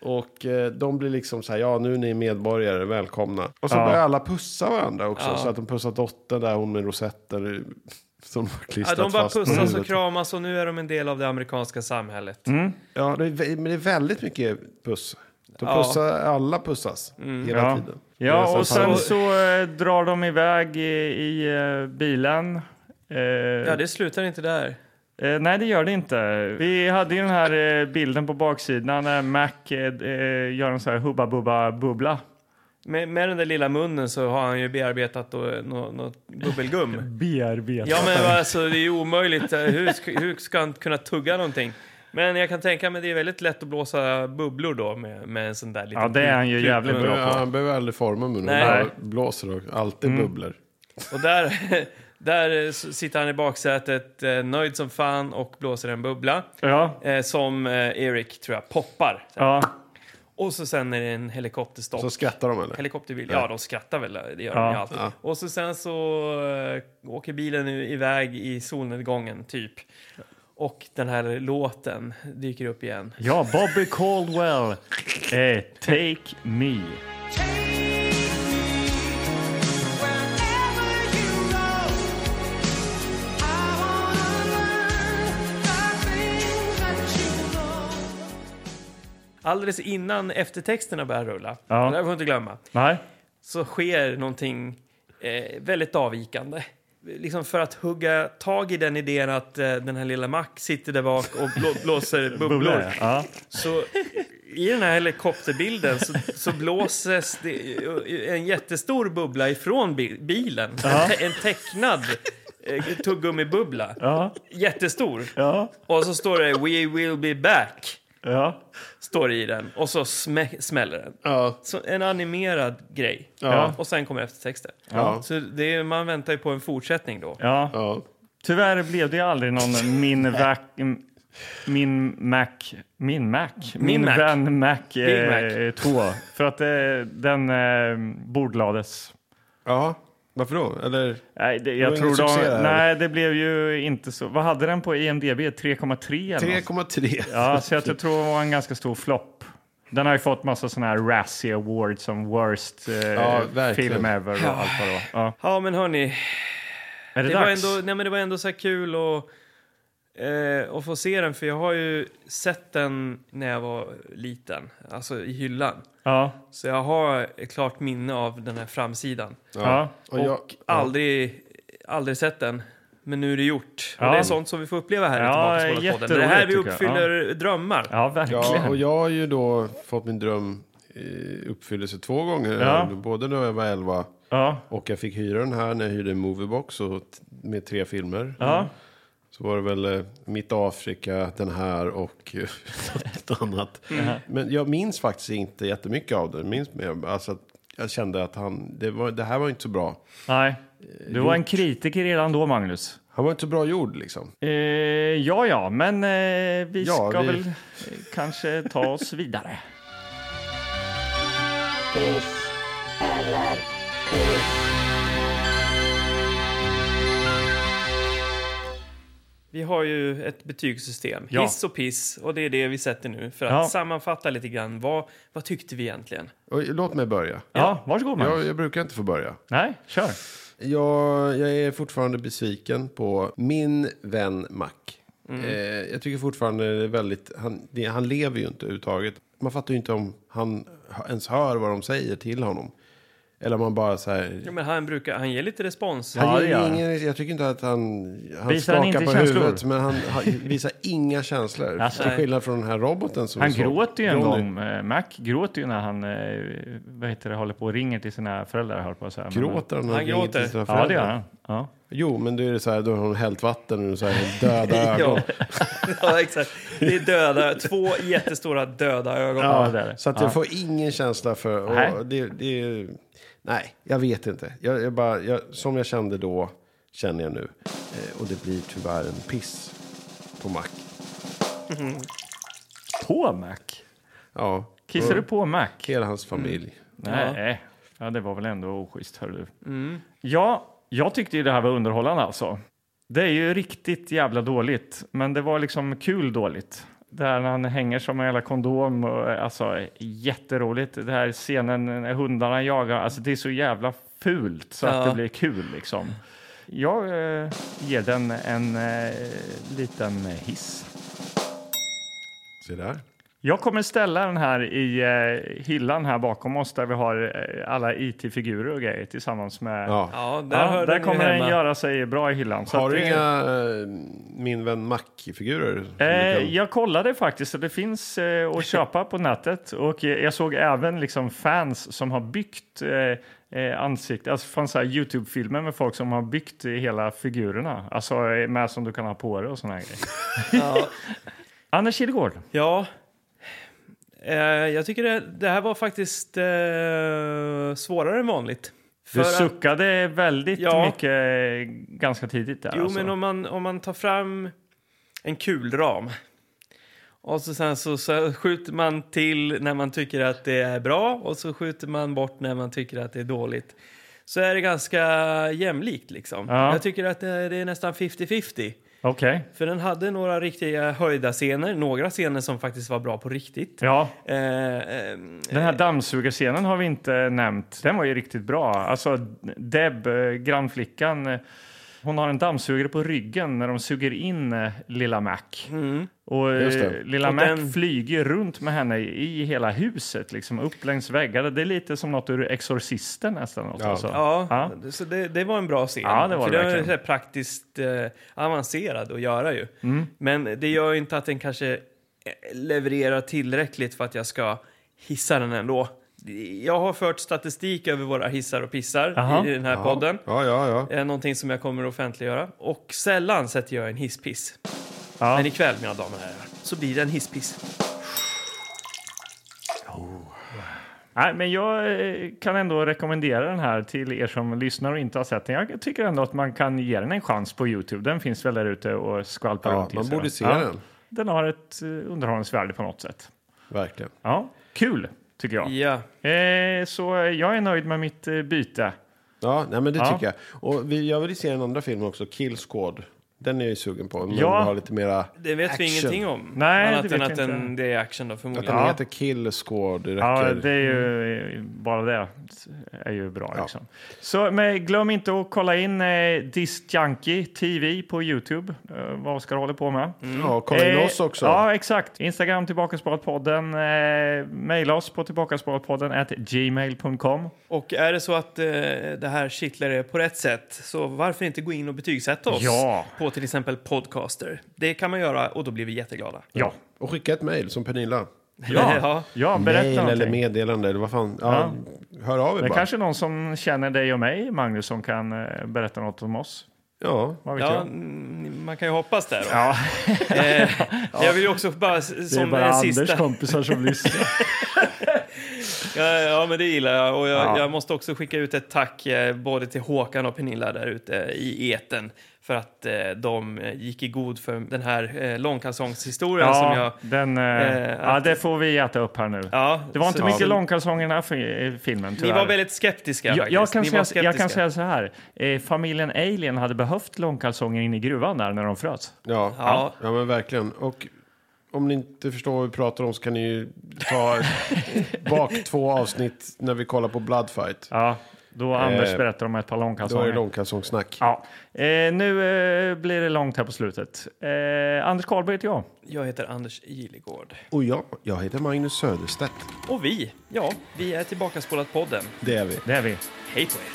S1: Och eh, de blir liksom så här, ja nu är ni medborgare, välkomna. Och så
S3: Ja.
S1: börjar alla pussa varandra också.
S2: Ja.
S1: Så att de pussar dottern där, hon med rosetter som har
S2: Ja,
S1: klistrat
S2: de bara
S1: fast på
S2: pussas
S3: Mm.
S2: och
S1: huvudet.
S2: kramas och nu är de en del av det amerikanska samhället.
S1: Ja, det är, vä- men det är väldigt mycket puss. De
S2: Ja.
S1: pussar, alla pussas hela
S3: Mm. Ja.
S1: tiden. Det är
S3: ja, och
S1: nästan
S3: sen
S1: fan-
S3: så eh, drar de iväg i, i eh, bilen. Eh,
S2: Ja, det slutar inte där.
S3: eh, nej, det gör det inte. Vi hade ju den här eh, bilden på baksidan när Mac eh, eh, gör en så här hubba bubba bubbla.
S2: Med, med den där lilla munnen så har han ju bearbetat då nå- något bubbelgum.
S3: Bearbetad.
S2: Ja, men alltså, det är ju omöjligt. Hur ska, hur ska han kunna tugga någonting? Men jag kan tänka mig det är väldigt lätt att blåsa bubblor då med, med en sån där liten...
S3: Ja, det är han ju
S2: klump-
S3: jävligt bra
S1: Ja,
S3: på.
S1: han behöver aldrig forma munnen.
S2: Nej.
S1: Han bara blåser och alltid
S3: Mm.
S1: bubblor.
S2: Och där, där eh, s- sitter han i baksätet eh, nöjd som fan och blåser en bubbla.
S3: Ja,
S2: Eh, som eh, Erik, tror jag, poppar.
S3: ja.
S2: Och så sen är det en helikopterstopp.
S1: Så skrattar de eller?
S2: Helikopterbil, ja de skrattar väl, det gör
S3: Ja.
S2: de ju alltid. Och så sen så eh, åker bilen nu iväg i solnedgången typ. Och den här låten dyker upp igen.
S3: ja Bobby Caldwell. Eh, take me.
S2: Alldeles innan eftertexterna börjar rulla,
S3: Ja.
S2: det här får vi inte glömma,
S3: Nej.
S2: så sker någonting eh, väldigt avvikande. Liksom för att hugga tag i den idén att eh, den här lilla Mac sitter där bak och blå, blåser bubblor.
S3: Bubbla, ja.
S2: Så i den här helikopterbilden så, så blåses det en jättestor bubbla ifrån bi- bilen. En tecknad eh, tuggummibubbla.
S3: Ja.
S2: Jättestor.
S3: Ja.
S2: Och så står det “We will be back”
S3: Ja.
S2: står det i den. Och så smä- smäller den.
S1: Ja.
S2: Så en animerad grej. Och sen kommer eftertexter.
S1: Ja.
S2: Så det är, man väntar ju på en fortsättning då.
S3: ja.
S1: Ja.
S3: Tyvärr blev det aldrig någon min vac, m- min Mac, min Mac, min,
S2: Mac.
S3: vän Mac 2.
S2: Big
S3: Eh, två. För att eh, den eh, bordlades.
S1: ja. Varför då? Eller?
S3: Nej, det,
S1: Det
S3: jag
S1: var
S3: tror
S1: ingen succé
S3: de,
S1: där.
S3: nej, det blev ju inte så. Vad hade den på E IMDB? 3,3? eller något?
S1: 3,3.
S3: Ja, så jag tror det var en ganska stor flopp. Den har ju fått massa sådana här Razzie Awards som worst eh,
S1: verkligen.
S3: film ever och allt vad det var. Ja.
S2: Ja, men hörni.
S3: Är det,
S2: Det var,
S3: dags?
S2: ändå, nej men det var ändå så här kul att, eh, att få se den, för jag har ju sett den när jag var liten, alltså i hyllan.
S3: Ja,
S2: Så jag har ett klart minne av den här framsidan.
S3: ja.
S1: Och jag,
S2: Aldrig, aldrig sett den, men nu är det gjort.
S3: Ja.
S2: Och det är sånt som vi får uppleva här
S3: Ja,
S2: i Tillbaka podden. Det är här vi
S3: jätteroligt, tycker jag.
S2: uppfyller drömmar.
S3: ja
S1: ja, och
S3: verkligen.
S1: jag har ju då fått min dröm i uppfyllelse två gånger.
S3: Ja.
S1: Både när jag var 11
S3: Ja,
S1: och jag fick hyra den här när jag hyrde en moviebox och t- med tre filmer.
S3: ja.
S1: Så var det väl eh, Mitt Afrika, den här och eh, något annat.
S3: Mm.
S1: Men jag minns faktiskt inte jättemycket av det. Jag, minns, mer, alltså, att jag kände att han, det, var, det här var inte så bra.
S3: Nej, du
S1: Eh,
S3: var en kritiker redan då, Magnus.
S1: Han var inte så bra gjord liksom.
S3: Eh, ja, ja, men eh, vi
S1: Ja,
S3: ska
S1: vi-
S3: väl eh, kanske ta oss vidare.
S2: Vi har ju ett betygssystem,
S3: Ja.
S2: hiss och piss, och det är det vi sätter nu för att
S3: Ja.
S2: sammanfatta lite grann. Vad, vad tyckte vi egentligen?
S1: Och, låt mig börja.
S3: Ja, varsågod, Magnus.
S1: Jag, jag brukar inte få börja.
S3: Nej, kör.
S1: Jag, jag är fortfarande besviken på min vän Mac.
S3: Mm.
S1: Eh, jag tycker fortfarande det är väldigt... Han, det, han lever ju inte överhuvudtaget. Man fattar ju inte om han h- ens hör vad de säger till honom. Eller om man bara så
S2: Ja,
S1: här...
S2: men han, brukar, han ger lite respons.
S1: Han
S3: Ja,
S1: ger
S3: det gör
S1: ingen, jag tycker inte att han, han
S3: Visar
S1: skakar
S3: han inte
S1: på
S3: känslor?
S1: huvudet, men han, han visar inga känslor.
S3: Alltså.
S1: till skillnad från den här roboten som
S3: Han
S1: vi såg.
S3: gråter ju en
S1: Johnny.
S3: gång. eh, Mac gråter ju när han eh, vad heter det, håller på och ringer till sina föräldrar. Håller på så här.
S1: Gråter han? när
S2: Han
S1: ringer till
S2: gråter.
S1: sina
S3: Ja, det
S1: föräldrar?
S3: gör han. Ja.
S1: Jo, men då är det så här, då har hon hällt vatten och så här döda ögon.
S2: Ja. ja, exakt. Det är döda, två jättestora döda ögon.
S3: Ja, det är det.
S1: Så att
S3: Ja.
S1: jag får ingen känsla för...
S3: Nej.
S1: Och det, det, nej, jag vet inte. Jag, jag bara, jag, som jag kände då, känner jag nu. Eh, och det blir tyvärr en piss på Mac.
S3: På Mac?
S1: Ja,
S3: Kissar du på Mac?
S1: hela hans
S3: Mm.
S1: familj.
S3: Nej. Ja, det var väl ändå oschysst, hör du. Ja, jag tyckte ju det här var underhållande alltså. Det är ju riktigt jävla dåligt, men det var liksom kul dåligt. Där han hänger som en jävla kondom. Och, alltså, jätteroligt. Det här scenen när hundarna jagar. Alltså, det är så jävla fult så att
S2: Ja.
S3: det blir kul liksom. Jag eh, ger den en eh, liten hiss.
S1: Se där.
S3: Jag kommer ställa den här i eh, hyllan här bakom oss där vi har eh, alla IT-figurer och grejer tillsammans med...
S1: Ja.
S2: Ja, där,
S3: Ja,
S2: hör
S3: där
S2: den ju
S3: kommer den
S2: hemma.
S3: göra sig bra i hyllan. Så
S1: Har
S3: att
S1: du
S3: det-
S1: inga eh, Min vän Mac-figurer? som du
S3: Eh,
S1: kan-
S3: jag kollade faktiskt och det finns eh, att köpa på nätet. Och eh, jag såg även liksom fans som har byggt eh, eh, ansikten. Alltså fanns så här Youtube-filmer med folk som har byggt eh, hela figurerna. Alltså eh, med som du kan ha på dig och såna här grejer. Anders Kihlgård.
S2: Ja. Eh, jag tycker det, det här var faktiskt eh, svårare än vanligt. För
S3: Du
S2: att-
S3: suckade väldigt
S2: Ja.
S3: mycket eh, ganska tidigt där.
S2: Jo,
S3: alltså.
S2: men om man, om man tar fram en kulram och så sen så, så skjuter man till när man tycker att det är bra och så skjuter man bort när man tycker att det är dåligt. Så är det ganska jämlikt liksom.
S3: Ja.
S2: Jag tycker att det, det är nästan 50-50.
S3: Okej.
S2: För den hade några riktiga höjda scener, några scener som faktiskt var bra på riktigt.
S3: Ja,
S2: Eh, eh,
S3: den här dammsugarscenen har vi inte nämnt. Den var ju riktigt bra. Alltså Deb, eh, grannflickan, eh, hon har en dammsugare på ryggen när de suger in eh, lilla Mac. Och eh,
S1: Just det.
S3: lilla
S2: Mm. Och
S3: Mac
S2: den-
S3: flyger runt med henne i hela huset, liksom upp längs väggarna. Det är lite som något ur Exorcisten nästan. Också,
S1: Ja.
S3: alltså.
S2: Ja,
S3: Ja.
S2: så det, det var en bra scen.
S3: Ja, det var
S2: För
S3: det
S2: den är
S3: verkligen.
S2: så här praktiskt eh, avancerad att göra ju.
S3: Mm.
S2: Men det gör ju inte att den kanske eh, levererar tillräckligt för att jag ska hissa den ändå. Jag har fört statistik över våra hissar och pissar
S3: Aha.
S2: i den här podden.
S1: Ja, ja, ja.
S2: Eh, Någonting som jag kommer att offentliggöra. Och sällan sätter jag en hisspiss.
S3: Ja.
S2: Men ikväll, mina damer och herrar, så blir det en hisspiss.
S3: Nej, men jag eh, kan ändå rekommendera den här till er som lyssnar och inte har sett den. Jag tycker ändå att man kan ge den en chans på Youtube. Den finns väl där ute och skvalpar
S1: Ja,
S3: runt i
S1: man
S3: sig
S1: borde
S3: då.
S1: se
S3: Ja.
S1: den.
S3: Den har ett eh, underhållningsvärde på något sätt.
S1: Verkligen.
S3: Ja, kul tycker jag.
S2: Ja.
S3: Eh, så jag är nöjd med mitt eh, byte.
S1: Ja, nej, men det
S3: Ja.
S1: tycker jag. Och vi, jag vill se den andra filmen också, Kill Squad. Den är jag ju sugen på. Men
S3: Ja.
S1: ja. har lite mera...
S2: Det vet vi
S1: Action.
S2: ingenting om.
S3: Nej,
S2: Annat
S3: det
S2: än
S3: vet
S2: att
S3: jag inte.
S2: den, det är action då
S1: Att
S2: förmodligen.
S1: den
S3: Ja.
S1: heter Kill Squad, det
S3: Ja,
S1: räcker.
S3: det är ju eh, bara det är ju bra.
S1: Mm. Ja.
S3: Liksom. Så, men glöm inte att kolla in eh, Discjunky TV på Youtube. Eh, vad Oskar håller på med.
S1: Ja, kolla in
S3: Eh,
S1: oss också.
S3: Ja, exakt. Instagram, Tillbakasparatpodden. Eh, Mejla oss på tillbakasparatpodden at gmail.com.
S2: Och är det så att eh, det här kittlar er på rätt sätt så varför inte gå in och betygsätta oss
S3: Ja.
S2: på till exempel Podcaster? Det kan man göra och då blir vi jätteglada.
S3: Ja.
S1: Och skicka ett mejl som Pernilla.
S3: Ja, ja berätta
S1: Mail
S3: någonting.
S1: eller meddelande eller vad fan. Ja, Hör av er
S3: Det är
S1: bara.
S3: kanske är någon som känner dig och mig, Magnus, som kan eh, berätta något om oss.
S1: Ja,
S3: Vad vet
S2: Ja,
S3: jag?
S2: mm, man kan ju hoppas det. Då.
S3: Ja,
S2: Eh, Jag vill ju också bara s-
S3: det är
S2: som
S3: bara
S2: en
S3: Anders
S2: sista...
S3: kompisar som lyssnar.
S2: Ja, ja, men det gillar jag. Och jag,
S3: Ja.
S2: jag måste också skicka ut ett tack eh, både till Håkan och Pernilla där ute i eten för att eh, de eh, gick i god för den här eh, långkalsongshistorien som jag...
S3: Ja, den, eh,
S2: eh,
S3: ja,
S2: att-
S3: det får vi äta upp här nu.
S2: Ja,
S3: Det var inte
S2: så-
S3: mycket
S2: så-
S3: långkalsonger i den här fi- i filmen
S2: Ni
S3: tyvärr.
S2: var väldigt skeptiska.
S3: jag,
S2: faktiskt.
S3: jag, kan
S2: Ni var
S3: säga, jag kan
S2: skeptiska.
S3: säga så här. Eh, familjen Alien hade behövt långkalsonger in i gruvan där när de frös.
S1: ja,
S2: Ja.
S1: ja. ja men verkligen. Och om ni inte förstår vad vi pratar om så kan ni ju ta bak två avsnitt när vi kollar på Bloodfight.
S3: Ja, då Anders
S1: Eh,
S3: berättar om ett par
S1: Då är
S3: långkalsonger.
S1: det långkalsongssnack.
S3: Ja. Eh, nu eh, blir det långt här på slutet. Eh, Anders Karlberg heter jag.
S2: Jag heter Anders Gilegård.
S1: Och jag, jag heter Magnus Söderstedt.
S2: Och vi, ja, vi är tillbaka podden.
S1: Det är vi.
S3: Det är vi.
S2: Hej på er!